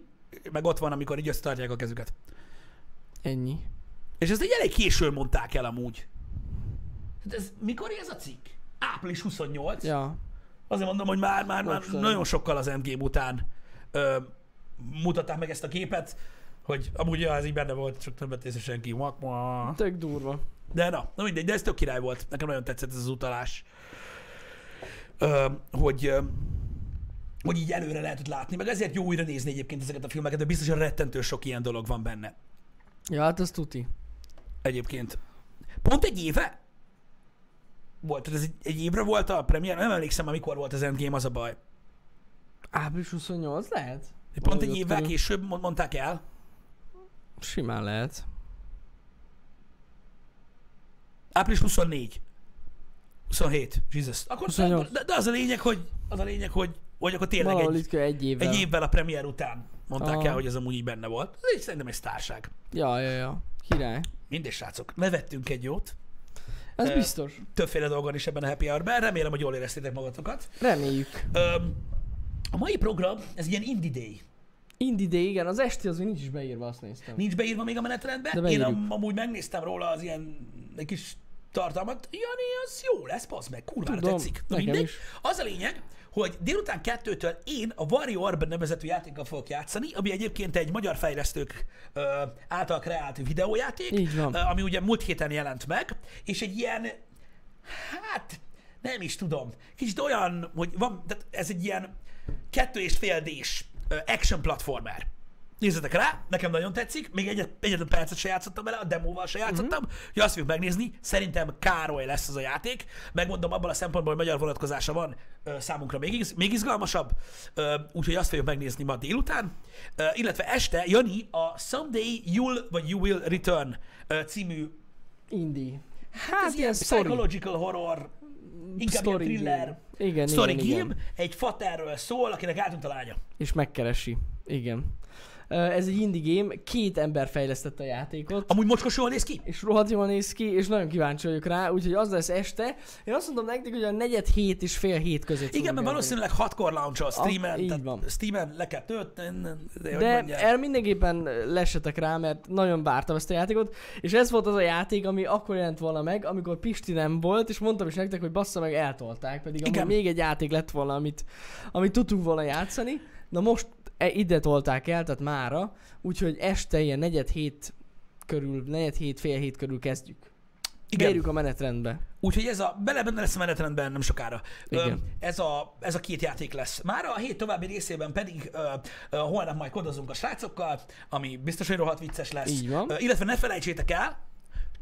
A: meg ott van, amikor így összetartják a kezüket.
B: Ennyi.
A: És ezt egy elég későn mondták el amúgy. Hát ez, mikor ez a cikk? Április 28.
B: Ja.
A: Azért mondom, hogy már, már, már
B: Bocsánat.
A: nagyon sokkal az Endgame után ö, mutatták meg ezt a képet, hogy amúgy ja, ez így benne volt, csak nem vett észre senki. Muak, muak.
B: Tök durva.
A: De na, na mindegy, de ez tök király volt. Nekem nagyon tetszett ez az utalás. Ö, hogy, ö, hogy így előre lehetett látni, meg ezért jó újra nézni egyébként ezeket a filmeket, de biztos, hogy rettentő sok ilyen dolog van benne
B: Ja, hát az tuti.
A: egyébként. Pont egy éve volt, tehát ez egy, egy évre volt a premier, nem emlékszem már mikor volt az Endgame, az a baj.
B: Április 28 lehet?
A: Pont
B: Valahogy
A: egy
B: ott
A: évvel
B: körül.
A: később mond- mondták el.
B: Simán lehet.
A: Április 24. 27. Jesus. Akkor
B: 28.
A: De, de, az a lényeg, hogy az a lényeg, hogy, hogy akkor tényleg
B: Valahol
A: egy,
B: itt kell egy évvel.
A: egy évvel a premier után mondták
B: Aha.
A: el, hogy ez amúgy így benne volt. Ez egy, szerintem egy sztárság.
B: Ja, ja, ja. Király.
A: Mindegy, srácok. Nevettünk egy jót.
B: Ez
A: Ö,
B: biztos.
A: Többféle dolgon is ebben a happy hour Remélem, hogy jól éreztétek magatokat.
B: Reméljük.
A: Öm, a mai program, ez ilyen indie day.
B: Indie Day, igen, az esti az még nincs is beírva, azt néztem.
A: Nincs beírva még a menetrendbe.
B: De
A: Én
B: beírjuk.
A: am- amúgy megnéztem róla az ilyen egy kis tartalmat. Jani, az jó lesz, az meg, kurvára
B: Tudom,
A: tetszik. Na
B: nekem
A: mindegy.
B: is.
A: Az a lényeg, hogy délután kettőtől én a Warrior Orb nevezetű játékkal fogok játszani, ami egyébként egy magyar fejlesztők ö, által kreált videójáték,
B: Így van.
A: ö, ami ugye múlt héten jelent meg, és egy ilyen, hát nem is tudom, kicsit olyan, hogy van, tehát ez egy ilyen kettő és fél D-s ö, action platformer. Nézzetek rá, nekem nagyon tetszik, még egyet, egyetlen percet se játszottam vele, a demóval se játszottam, mm-hmm. hogy azt fogjuk megnézni, szerintem Károly lesz az a játék, megmondom abban a szempontból, hogy magyar vonatkozása van ö, számunkra még, iz- még izgalmasabb, ö, úgyhogy azt fogjuk megnézni ma délután, ö, illetve este Jani a Someday You'll, vagy You Will Return ö, című,
B: Indie.
A: hát
B: Hát
A: ez ilyen
B: ilyen story.
A: psychological horror, inkább ilyen
B: Story
A: thriller,
B: game. Igen,
A: story
B: igen,
A: game,
B: igen.
A: egy faterről szól, akinek eltűnt a lánya.
B: És megkeresi. Igen. Ö, Ez egy indie game, két ember fejlesztette a játékot.
A: Amúgy mocskos jól néz ki?
B: és rohadt jól néz ki, és nagyon kíváncsi vagyok rá, úgyhogy az lesz este. Én azt mondom nektek, hogy a negyed hét és fél hét között
A: Igen,
B: fogunk
A: mert
B: elmenni.
A: valószínűleg hatkor launch a streamen,
B: Ah, így
A: tehát
B: van.
A: streamen le kell tölteni, de, hogy
B: De er-
A: mondják.
B: erre mindenképpen lesetek rá, mert nagyon vártam ezt a játékot, és ez volt az a játék, ami akkor jelent volna meg, amikor Pisti nem volt, és mondtam is nektek, hogy bassza meg, eltolták, pedig
A: Igen.
B: Igen. még egy játék lett volna, amit, amit tudtunk volna játszani. Na most e, ide tolták el, tehát mára, úgyhogy este ilyen negyed hét körül, negyed hét, fél hét körül kezdjük.
A: Igen.
B: Bérjük a menetrendbe.
A: Úgyhogy ez a, bele benne lesz a menetrendben nem sokára. Ö,
B: Igen.
A: ez, a, ez a két játék lesz. Már a hét további részében pedig ö, ö, holnap majd kodozunk a srácokkal, ami biztos, hogy rohadt vicces lesz.
B: Így van.
A: Ö, illetve ne felejtsétek el,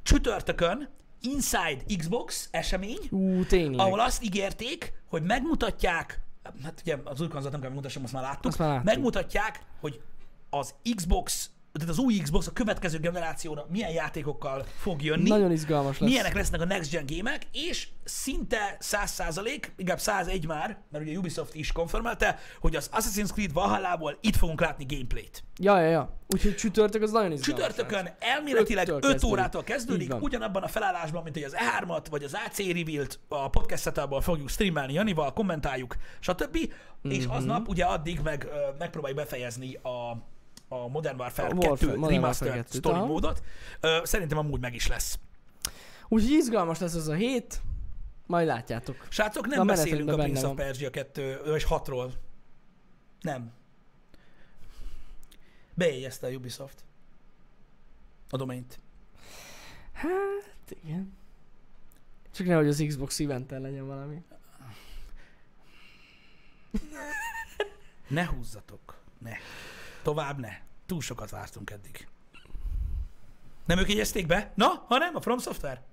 A: csütörtökön Inside Xbox esemény,
B: Ú, tényleg.
A: ahol azt ígérték, hogy megmutatják, hát ugye az új konzolt nem kell megmutassam, azt már láttuk,
B: Azt már láttuk.
A: megmutatják, hogy az Xbox, tehát az új Xbox a következő generációra milyen játékokkal fog jönni.
B: Nagyon izgalmas lesz.
A: Milyenek lesznek a next gen gémek, és szinte 100 százalék, inkább 101 már, mert ugye Ubisoft is konfirmálta, hogy az Assassin's Creed Valhalla-ból itt fogunk látni gameplayt.
B: Ja, ja, ja. Úgyhogy csütörtök az nagyon izgalmas. lesz.
A: Csütörtökön elméletileg
B: Öttől
A: 5
B: kezdődik.
A: órától
B: Így
A: kezdődik,
B: van.
A: ugyanabban a felállásban, mint hogy az E3-at, vagy az AC Revealed, a podcast setupban fogjuk streamelni Janival, kommentáljuk, stb. És
B: Mhm.
A: aznap ugye addig meg ö, megpróbáljuk befejezni a, a Modern Warfare
B: A
A: 2
B: Warfare- Modern Warfare
A: Remastered
B: 2-t,
A: Story
B: aha.
A: módot. Ö, Szerintem amúgy meg is lesz.
B: Úgyhogy izgalmas lesz ez a hét, majd látjátok.
A: Srácok, nem
B: Na,
A: beszélünk
B: menetekben
A: a
B: benne
A: Prince of
B: van.
A: Persia 2 és 6-ról. Nem. Bejegyezte a Ubisoft. A domaint.
B: Hát igen. Csak nehogy az Xbox event legyen valami.
A: Ne húzzatok. Ne. Tovább ne. Túl sokat vártunk eddig. Nem ők jegyezték be? Na, ha nem, a From Software?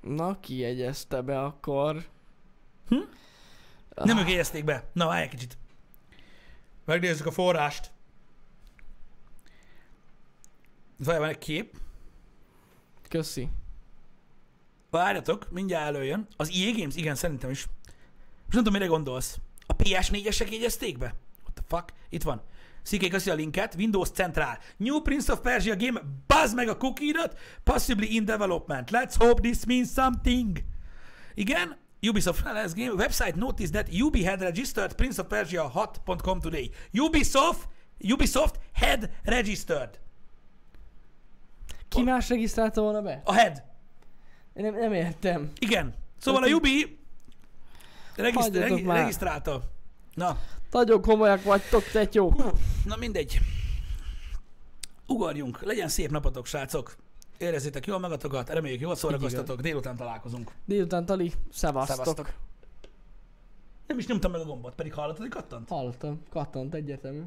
B: Na, ki jegyezte be akkor?
A: Nem ők jegyezték be. Na, várj egy kicsit. Megnézzük a forrást. Itt Van van egy kép.
B: Köszi.
A: Várjatok, mindjárt előjön. Az EA Games, igen, szerintem is. Most nem tudom, mire gondolsz. A PS4-esek jegyezték be? What the fuck? Itt van. Szikék köszi a linket. Windows Central. New Prince of Persia game. Bazd meg a cookie-dat. Possibly in development. Let's hope this means something. Igen, Ubisoft Finance Game website noticed that Ubi had registered Prince of Persia 6.com today. Ubisoft, Ubisoft had registered.
B: Ki más regisztrálta volna be?
A: A head.
B: Én nem, nem értem.
A: Igen. Szóval a Ubi regiszt-
B: Hagyjatok
A: regi-
B: már.
A: regisztrálta. Na,
B: Nagyon komolyak vagytok, tetyó.
A: Hú, na mindegy. Ugorjunk. Legyen szép napotok, srácok. Érezzétek jól magatokat, reméljük jól szórakoztatok. Délután találkozunk.
B: Délután tali, szevasztok.
A: Szevasztok. Nem is nyomtam meg a gombot, pedig hallottad, hogy kattant?
B: Hallottam, kattant egyetemű.